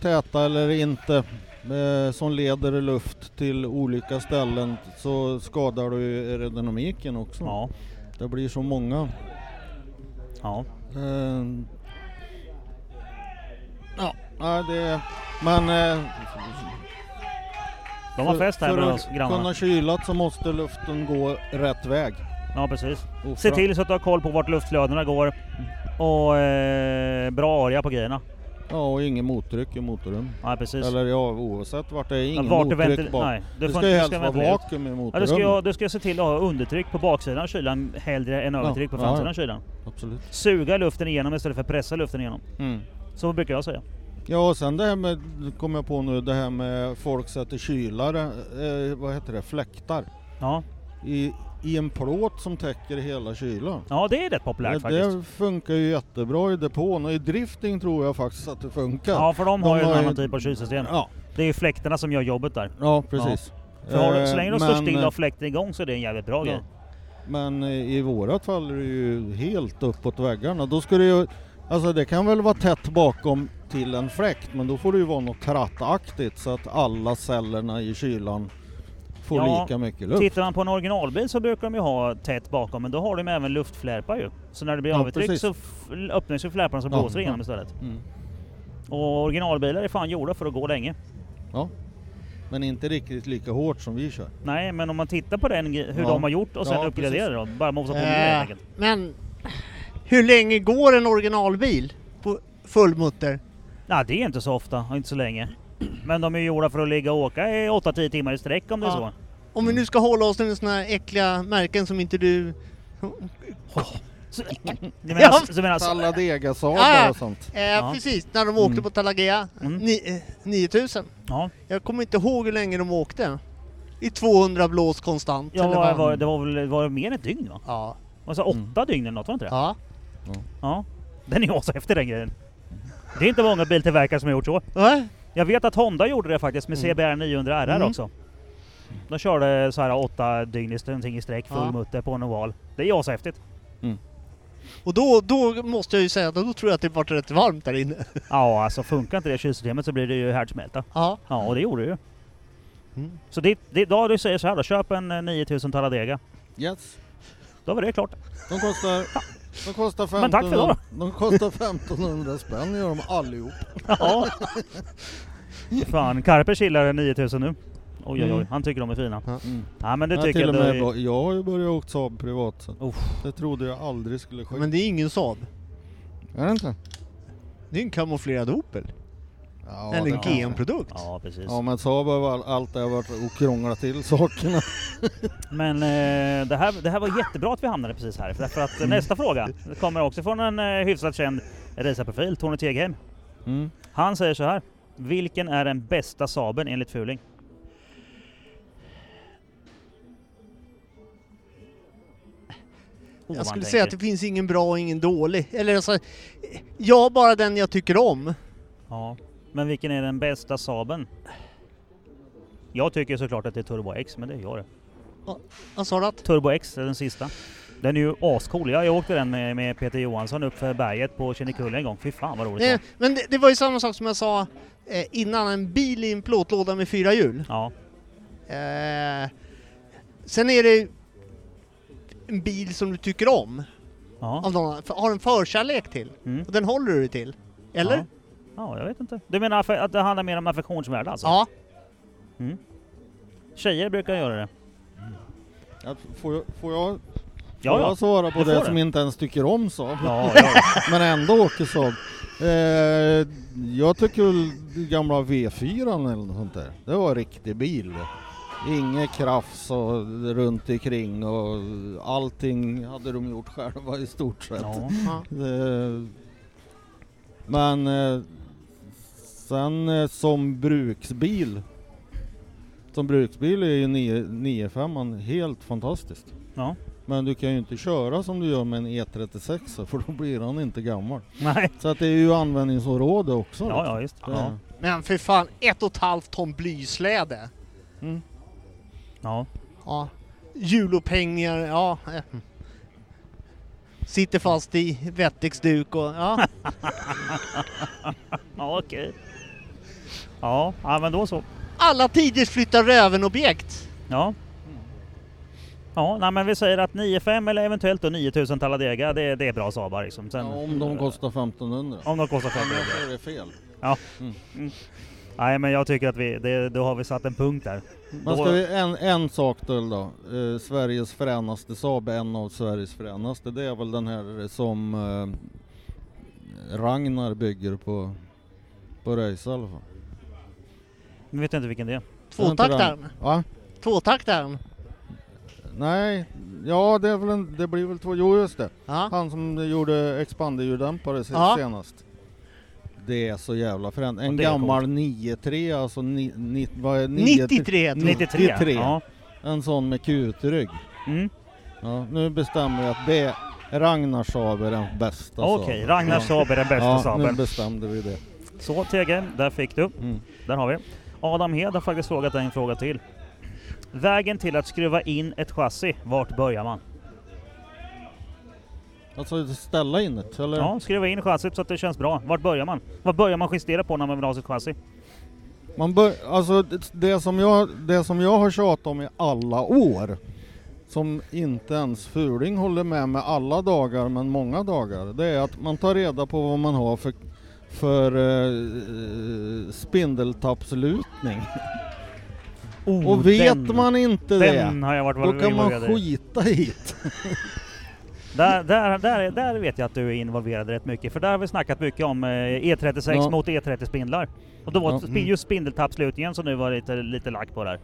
täta eller inte eh, som leder luft till olika ställen så skadar du ju aerodynamiken också.
Ja.
Det blir så många.
ja.
Eh, ja, nej, det, men eh,
De har fest här
för
bland oss
att kunna
grannarna.
kyla så måste luften gå rätt väg.
Ja precis.
Och
Se
fram-
till så att du har koll på vart luftflödena går. Och eh, bra area på grejerna.
Ja, och ingen mottryck i motorrum.
Ja precis.
Eller ja, oavsett vart det är, ingen
Vart du
mottryck
ventil-
bara.
Nej,
Det
du får
ska ju
inte-
helst
ska
vara
ventilera ut.
vakuum i
Ja, då,
motorrummet.
ska jag, då ska jag se till att ha undertryck på baksidan av kylan hellre än övertryck på
ja,
framsidan
ja.
av kylan.
Absolut.
Suga luften igenom istället för att pressa luften igenom. Så brukar jag säga.
Mm. Ja, och sen det här med, kom jag på nu, det här med folk sätter kylare, eh, vad heter det, fläktar
Ja,
i, i en plåt som täcker hela kylan.
ja det är rätt populärt
Det,
faktiskt.
det funkar ju jättebra i depån och i drifting tror jag faktiskt att det funkar.
Ja, för de har
de
ju
har
en
ju-
annan typ av kylsystem.
ja,
Det är ju fläktarna som gör jobbet där.
ja, precis.
För har du,
Eh,
så länge de står
men-
stilla och fläkten igång så är det en jävligt bra grej.
Men i vårat fall är det ju helt uppåt väggarna. Då ska det ju, alltså det kan väl vara tätt bakom till en fläkt men då får det ju vara något trattaktigt så att alla cellerna i kylan får
Ja,
lika mycket luft.
Tittar man på en originalbil så brukar de ju ha tätt bakom, men då har de även luftflärpar ju. Så när det blir
Ja,
övertryck
precis.
så f- öppnas ju flärparna som
Ja,
blåser
ja.
igenom istället.
Mm.
Och originalbilar är fan gjorda för att gå länge.
Men inte riktigt lika hårt som vi kör.
Nej, men om man tittar på den, hur
Ja.
de har gjort och sen
Ja,
uppgraderar dem. Bara mosa på mer helt
Eh,
enkelt.
men hur länge går en originalbil på fullmutter?
Nej, det är inte så ofta och inte så länge. Men de är ju gjorda för att ligga och åka i 8-10 timmar i sträck om det är
Ja.
så.
Om vi nu ska hålla oss till sådana här äckliga märken som inte du...
så du menar,
Ja.
du menar, så,
Salladegasadar och sånt.
Eh,
Alltså, eh, Ja.
Precis, när de åkte
Mm.
på Talagea
Mm.
ni, eh, 9000.
ja,
Jag kommer inte ihåg hur länge de åkte. I 200 blås konstant.
ja
eller
var,
vad?
var, det var väl var det mer än ett dygn va?
Ja.
Alltså åtta
Mm.
dygn eller något, var det inte det? Ja.
ja.
Den är ju efter den grejen. Det är inte många biltillverkare som har gjort så.
Va?
Jag vet att Honda gjorde det faktiskt med
Mm.
CBR 900 RR
Mm.
också. De körde så här åtta dygn i, någonting i sträck, full
Ja.
mutter på en oval. Det är ju ashäftigt.
Och då, då måste jag ju säga att då tror jag att det vart rätt varmt där inne.
Ja, alltså funkar inte det kylsystemet så blir det ju härdsmälta.
Ja.
Ja, och det gjorde det ju.
Mm.
Så det, det, då du säger så här då, köp en eh, 9000 Talladega.
Yes.
Då var det klart.
De kostar, de kostar, 1500,
Men tack för idag
de kostar 1500 spänn gör de allihop.
Ja. Fan, Karper chillar 9000 nu. Oj oj oj,
Mm.
han tycker de är fina.
Ja.
Nej men det
Ja,
tycker
till
jag.
och
det
med
är-
bra. Jag har ju börjat åka Saab privat. Så.
Uff.
Det trodde jag aldrig skulle ske.
Men det är ingen Saab.
är det inte?
Det är en kamouflerad Opel.
Ja, det
Eller
kanske.
GM-produkt.
Ja, precis.
Ja men Saab har väl allt det har varit och krånglat till sakerna.
Men eh, det, här, det här var jättebra att vi hamnade precis här. För att
Mm.
eh, nästa fråga kommer också från en eh, hyfsat känd racerprofil, Tony Tegheim.
Mm.
Han säger så här. Vilken är den bästa Saaben enligt Fuling? Oh,
Jag
man
skulle
tänker.
säga att typ- det finns ingen bra och ingen dålig. Eller alltså, eh, jag bara den jag tycker om.
Ja. Men vilken är den bästa Saaben? Jag tycker såklart att det är Turbo X, men det gör det.
Vad sa du att?
Turbo X är den sista. Den är ju ascool. Jag, jag åkte den med, med Peter Johansson upp för berget på Kinnekulle en gång. Fy fan vad roligt det
Nej,
var.
Eh, men det, det var ju samma sak som jag sa eh, innan, en bil i en plåtlåda med fyra hjul.
Ja,
Eh, sen är det en bil som du tycker om,
ja.
av någon, för- har en förkärlek till.
Mm.
Och den håller du dig till. Eller?
Ja. ja, jag vet inte. Du menar affe- att det handlar mer om affektionsvärde alltså?
Ja.
Tjejer brukar göra det.
Ja, Får jag, får jag,
Ja,
får
ja.
jag svara på
Du
det
får
som
det.
inte ens tycker om Saab?
ja, ja.
Men ändå åker Saab. Eh, jag tycker väl gamla V4 eller något sånt där. Det var en riktig bil. Inget krafs och runt omkring och allting hade de gjort själva i stort sett.
ja.
ja.
Eh, Men eh, sen eh, som bruksbil. Som bruksbil är ju 9 9-5 helt fantastiskt.
Ja.
Men du kan ju inte köra som du gör med en E36 för då blir han inte gammal.
Nej.
Så att det är ju användningsområde också. liksom.
Ja, ja, just.
Det-
Ja.
Men för fan, ett och ett halvt ton blysläde.
Mm.
ja.
Ja. Hjulupphängningar, ja. eh. Sitter fast i vettexduk och ja.
Ja, okej. Ja, ja, men då så.
Alla tiders flyttar röven-objekt.
Ja. Ja, nej, men vi säger att 9,5 eller eventuellt då 9000 Talladega, det, det är bra Saabar liksom. Sen,
Ja, om de kostar 1500.
Om de kostar 500.
Annars är det fel.
Nej, men jag tycker att vi, det, då har vi satt en punkt där.
Men
Då-
ska vi, en, en sak till då. Eh, Sveriges fränaste Saab, en av Sveriges fränaste. Det är väl den här som eh, Ragnar bygger på, på Röjs i alla fall.
Nu vet jag inte vilken det är.
Tvåtaktaren.
Va?
Tvåtaktaren.
Nej, ja det, är väl en, det blir väl två, jo just det.
Ja.
Han som gjorde expanderljuddämpare se-
Ja.
senast. Det är så jävla fränt. En
det är
gammal 9-3, alltså ni, ni, vad är
93 heter
Mm,
det.
93.
93.
Ja.
En sån med kutrygg.
Mm.
Ja, nu bestämmer vi att det Ragnar Saab är den bästa
Okej,
Saaben.
Ragnar
ja.
Saab är den bästa
ja,
Saaben.
nu bestämde vi det.
Så TG, där fick du.
Mm.
Där har vi. Adam Hed har faktiskt frågat en fråga till. Vägen till att skruva in ett chassi, vart börjar man?
Alltså ställa in det, eller?
Ja, skruva in chassit så att det känns bra. Vart börjar man? Vad börjar man justera på när man vill ha sitt chassi?
Man bör, alltså det, det, som jag, det som jag har tjatat om i alla år, som inte ens Fuling håller med med alla dagar, men många dagar, det är att man tar reda på vad man har för, för eh, spindeltappslutning.
Oh,
Och vet
den,
man inte
Den
det,
har jag varit
då kan man
involverad i.
skita i det.
Där, där, där, är- där vet jag att du är involverad rätt mycket, för där har vi snackat mycket om eh, E36
Ja.
mot E30-spindlar. Och då var
Ja,
det
mm.
spi- just spindeltappslutningen som nu var lite, lite lack på där.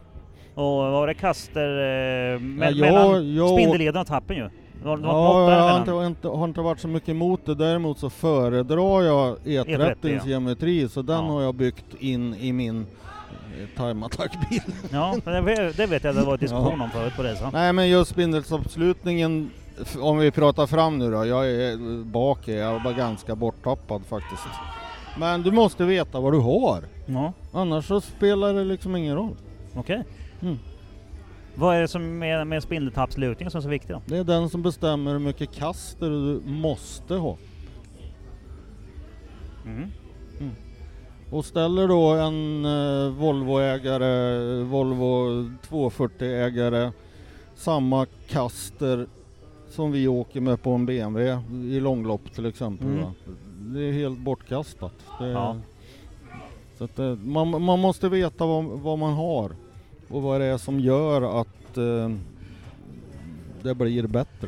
Och vad var det kaster eh, me-
jag-
mellan
jag-
spindelleden och tappen ju? Det Var, det var något
Ja,
där
jag har
mellan.
inte, har inte, har inte varit så mycket emot det. Däremot så föredrar jag E30s
E30, ja.
geometri, så den
Ja.
har jag byggt in i min eh, Time Attack-bil.
Ja, men det, det vet jag att det var diskussion
Ja.
om förut på resan.
Nej men just spindeltoppslutningen, f- om vi pratar fram nu då, jag är eh, bak, är jag var ganska borttappad faktiskt. Men du måste veta vad du har,
Ja,
annars så spelar det liksom ingen roll.
okej.
Mm.
Vad är det som med, med spindeltappslutningen som är så viktigt då?
Det är den som bestämmer hur mycket kaster du måste ha.
Mm.
Och ställer då en eh, Volvo-ägare, Volvo 240-ägare, samma kaster som vi åker med på en BMW i långlopp till exempel.
Mm.
Va? Det är helt bortkastat. Det,
Ja.
så att det, man, man måste veta vad, vad man har och vad det är som gör att eh, det blir bättre.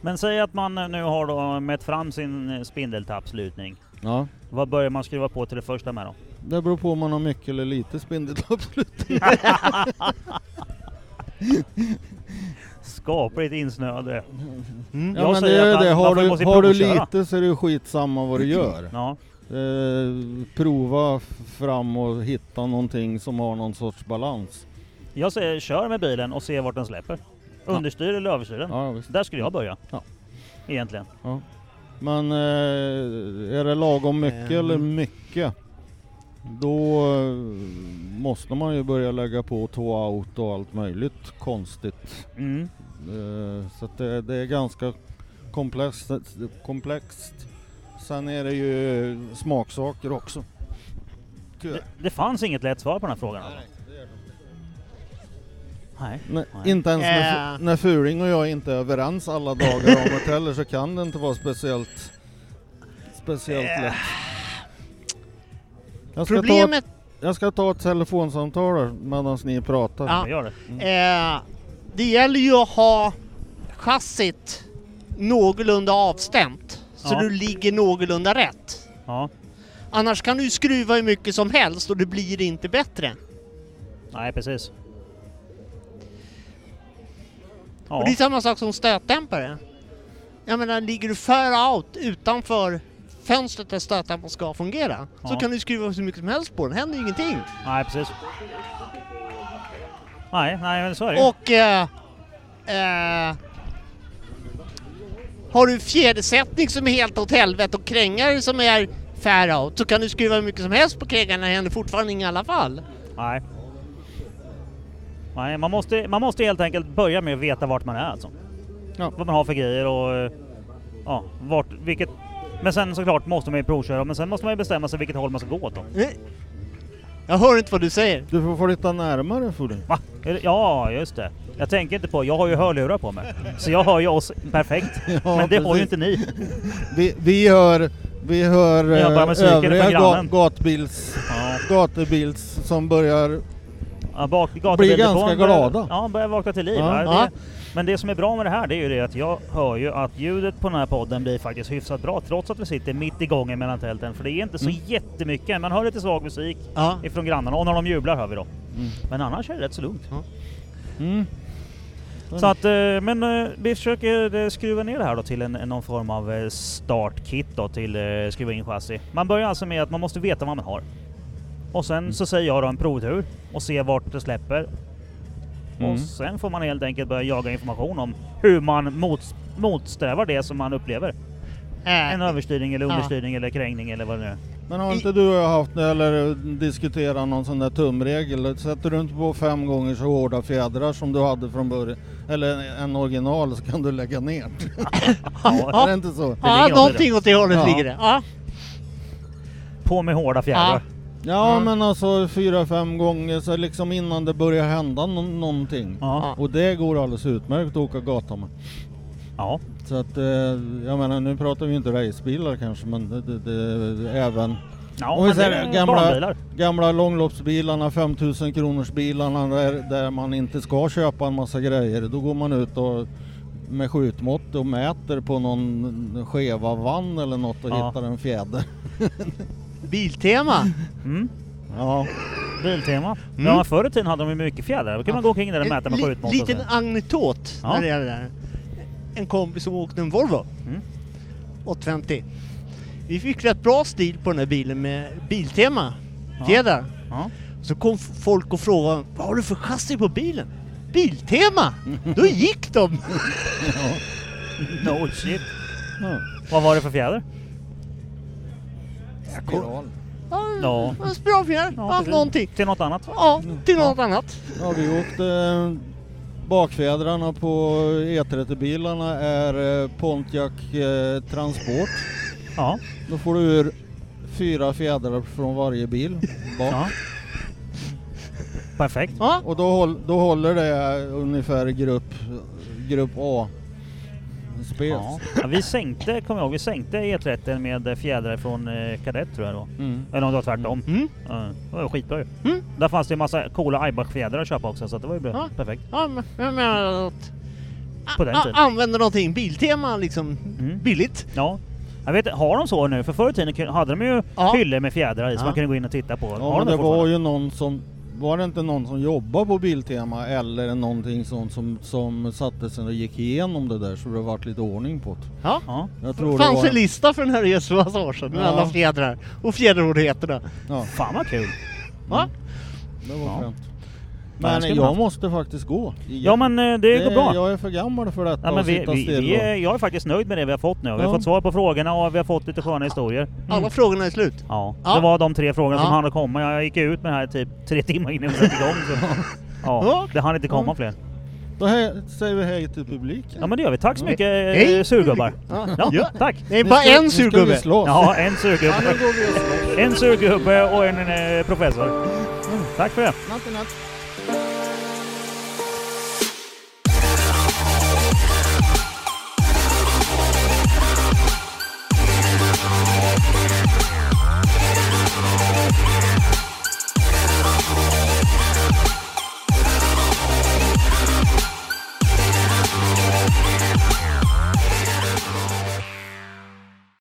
Men säg att man eh, nu har då mätt fram sin eh, spindeltappslutning.
Ja.
Vad börjar man skruva på till det första med då?
Det beror på om man har mycket eller lite spindelabslut.
Skapligt insnöade.
Mm.
Ja,
Jag
men det
säger
är
att
ju det.
man-
Har
varför
du,
måste vi
har du
provköra?
lite så är det ju skitsamma vad du
Mm.
gör.
Ja.
Eh, prova f- fram och hitta någonting som har någon sorts balans.
Jag säger kör med bilen och se vart den släpper. Understyr eller överstyr den.
Ja, visst.
Där skulle jag börja.
Ja.
Egentligen.
Men eh, är det lagom mycket
Eh,
eller mycket, då eh, måste man ju börja lägga på två out och allt möjligt konstigt.
Mm.
Eh, så att det, det är ganska komplext, komplext. Sen är det ju smaksaker också. Tyvärr.
Det, det fanns inget lätt svar på den här frågan. alltså. Nej.
Nej,
Nej.
inte ens när,
Äh.
när Furing och jag inte är överens alla dagar om det heller så kan det inte vara speciellt speciellt lätt. Jag ska, ta ett,
Eh. Problemet...
jag ska ta ett telefonsamtal här medan ni pratar.
Ja.
Jag gör det.
Eh, det gäller ju att ha chassit någorlunda avstämt. Så
Ja.
du ligger någorlunda rätt.
Ja.
Annars kan du ju skruva hur mycket som helst och det blir inte bättre.
Nej, precis.
Och
Ja.
det är samma sak som stötdämpare. Jag menar, ligger du för out utanför fönstret där stötdämparen ska fungera så
Ja.
kan du skruva hur mycket som helst på den, händer ju ingenting.
Nej, precis. Nej, nej men så är det ju.
Och... Eh, eh, har du fjädersättning som är helt åt helvete och krängare som är fair out så kan du skruva hur mycket som helst på krängarna, det händer fortfarande inget i alla fall.
Nej. Nej, man måste, man måste helt enkelt börja med att veta vart man är alltså.
Ja.
Vad man har för grejer och eh, ja, vart, vilket... Men sen såklart måste man ju provköra, men sen måste man ju bestämma sig vilket håll man ska gå åt då.
Nej. Jag hör inte vad du säger.
Du får flytta närmare Furing.
Va? Är det- Ja, just det. Jag tänker inte på, jag har ju hörlurar på mig. Så jag hör ju oss perfekt.
Ja,
men det har ju
precis.
inte ni.
Vi, vi hör, vi hör
Jag hör bara
eh,
musiken
övriga
från grannen.
ga- gatbils,
Ja.
gatubils som börjar...
Ja, bak, gatubilden
Blir ganska
på en börjar-
glada.
Ja, börjar vakna till liv.
Ja.
va?
Ja.
Det, men det som är bra med det här det är ju det att jag hör ju att ljudet på den här podden blir faktiskt hyfsat bra trots att vi sitter mitt i gången mellan tälten. För det är inte så
Mm.
jättemycket. Man hör lite svag musik
Ja.
ifrån grannarna och när de jublar hör vi då.
Mm.
Men annars är det rätt så lugnt.
Mm.
Så att, eh, men eh, vi försöker eh, skruva ner det här då till en, någon form av eh, startkit då till eh, skruva in chassi. Man börjar alltså med att man måste veta vad man har. Och sen så säger jag då en provtur och se vart det släpper.
Mm.
Och sen får man helt enkelt börja jaga information om hur man mots- motsträvar det som man upplever. En
Äh,
överstyrning eller
Ja.
understyrning eller krängning eller vad det nu är.
Men har
I-
inte du och jag haft eller diskuterat någon sån där tumregel? Sätter du inte på fem gånger så hårda fjädrar som du hade från början, eller en original, så kan du lägga ner.
Ja,
Är det inte så?
ligger
ja,
åt det
någonting åt det hållet
Ja.
ligger det. Ja.
På med hårda fjädrar.
Ja,
Mm.
men alltså fyra, fem gånger så liksom innan det börjar hända nå- någonting.
Ja.
Och det går alldeles utmärkt att åka gata med.
Ja.
Så att, eh, jag menar nu pratar vi ju inte racebilar kanske, men det, det, det, även
ja.
Om vi
men det
säger
är
gamla-
barnbilar.
gamla långloppsbilarna, 5000 kronors bilarna där, där man inte ska köpa en massa grejer. Då går man ut och med skjutmått och mäter på någon skeva vann eller något och
Ja.
hittar en fjäder.
Biltema.
Mm.
Ja,
Biltema.
Mm.
Ja, men förr i tiden hade de ju mycket fjädrar. Då kunde
Ja.
man gå omkring där och mäta med
li-
skjutmått och
liten
sådär.
anekdot
Ja.
när det gäller det här. En kompis som åkte en Volvo.
Mm.
850. Vi fick rätt bra stil på den här bilen med Biltema.
Ja.
Fjädrar.
Ja.
Så kom f- folk och frågade vad har du för chassi på bilen? Biltema! Då gick de!
No shit.
Ja.
Vad var det för fjäder?
Spiral.
Ja.
Ja, en spiralfjärd, ja,
precis.
någonting.
Till något annat.
Ja, till något annat.
Ja, vi åkte eh, bakfjädrarna på E30-bilarna är eh, Pontiac eh, Transport.
Ja.
Då får du ur fyra fjädrar från varje bil bak.
ja. Perfekt.
Ja,
Och då, håll, då håller det ungefär grupp, grupp A. Spets.
Ja. Ja, vi sänkte, kommer jag ihåg, vi sänkte E30 med fjädrar från eh, Kadett tror jag då.
Mm.
Eller om det var tvärtom.
mm.
Ja, det var skitbra ju.
Mm.
Där fanns det ju massa coola Aibach-fjädrar att köpa också så att det var ju bra.
Ja.
perfekt.
ja men jag menar att...
På den
a-
tiden.
Använda någonting, Biltema liksom,
Mm.
billigt.
Ja. Jag vet inte, har de så nu? För förr i tiden kun- hade de ju
Ja.
hyllor med fjädrar i som
Ja.
man kunde gå in och titta på.
Ja,
har de
men det var
fortfarande?
ju någon som... Var det inte någon som jobbade på Biltema eller någonting sånt som, som satte sig och gick igenom det där så det vart lite ordning på det?
Ja.
Ja.
Jag tror
Det fanns
det
en
var...
lista för den här resmassagen med
Ja.
alla fjädrar och fjäderroligheterna.
Ja,
Fan vad kul!
Va?
Mm. det var
Ja.
skönt.
här
Men
skulle
jag
man-
måste faktiskt gå. igen.
Ja men eh, det går bra.
Jag är för gammal för detta
Ja, men
att
vi,
sitta
vi,
still.
vi
och-
är, jag är faktiskt nöjd med det vi har fått nu. Vi har
Ja.
fått svar på frågorna och vi har fått lite sköna historier. Mm.
Alla frågorna är slut.
Ja,
Ja.
det var de tre frågorna som
Ja.
hann att komma. Jag gick ut med det här typ tre timmar innan vi satte igång. Så. Ja,
Ja.
det hann inte komma
Ja.
fler.
Då he- säger vi hej till publiken.
Ja men det gör vi. Tack så
Ja.
mycket eh,
Hej!
surgubbar.
Ja.
Ja, tack!
Det är
Nu
bara
ska- nu
en
ska vi
surgubbe.
slåss.
Ja, en
Ja, nu
surgubbe.
går vi och slåss.
En surgubbe och en eh, professor. Tack för det.
Natt, natt.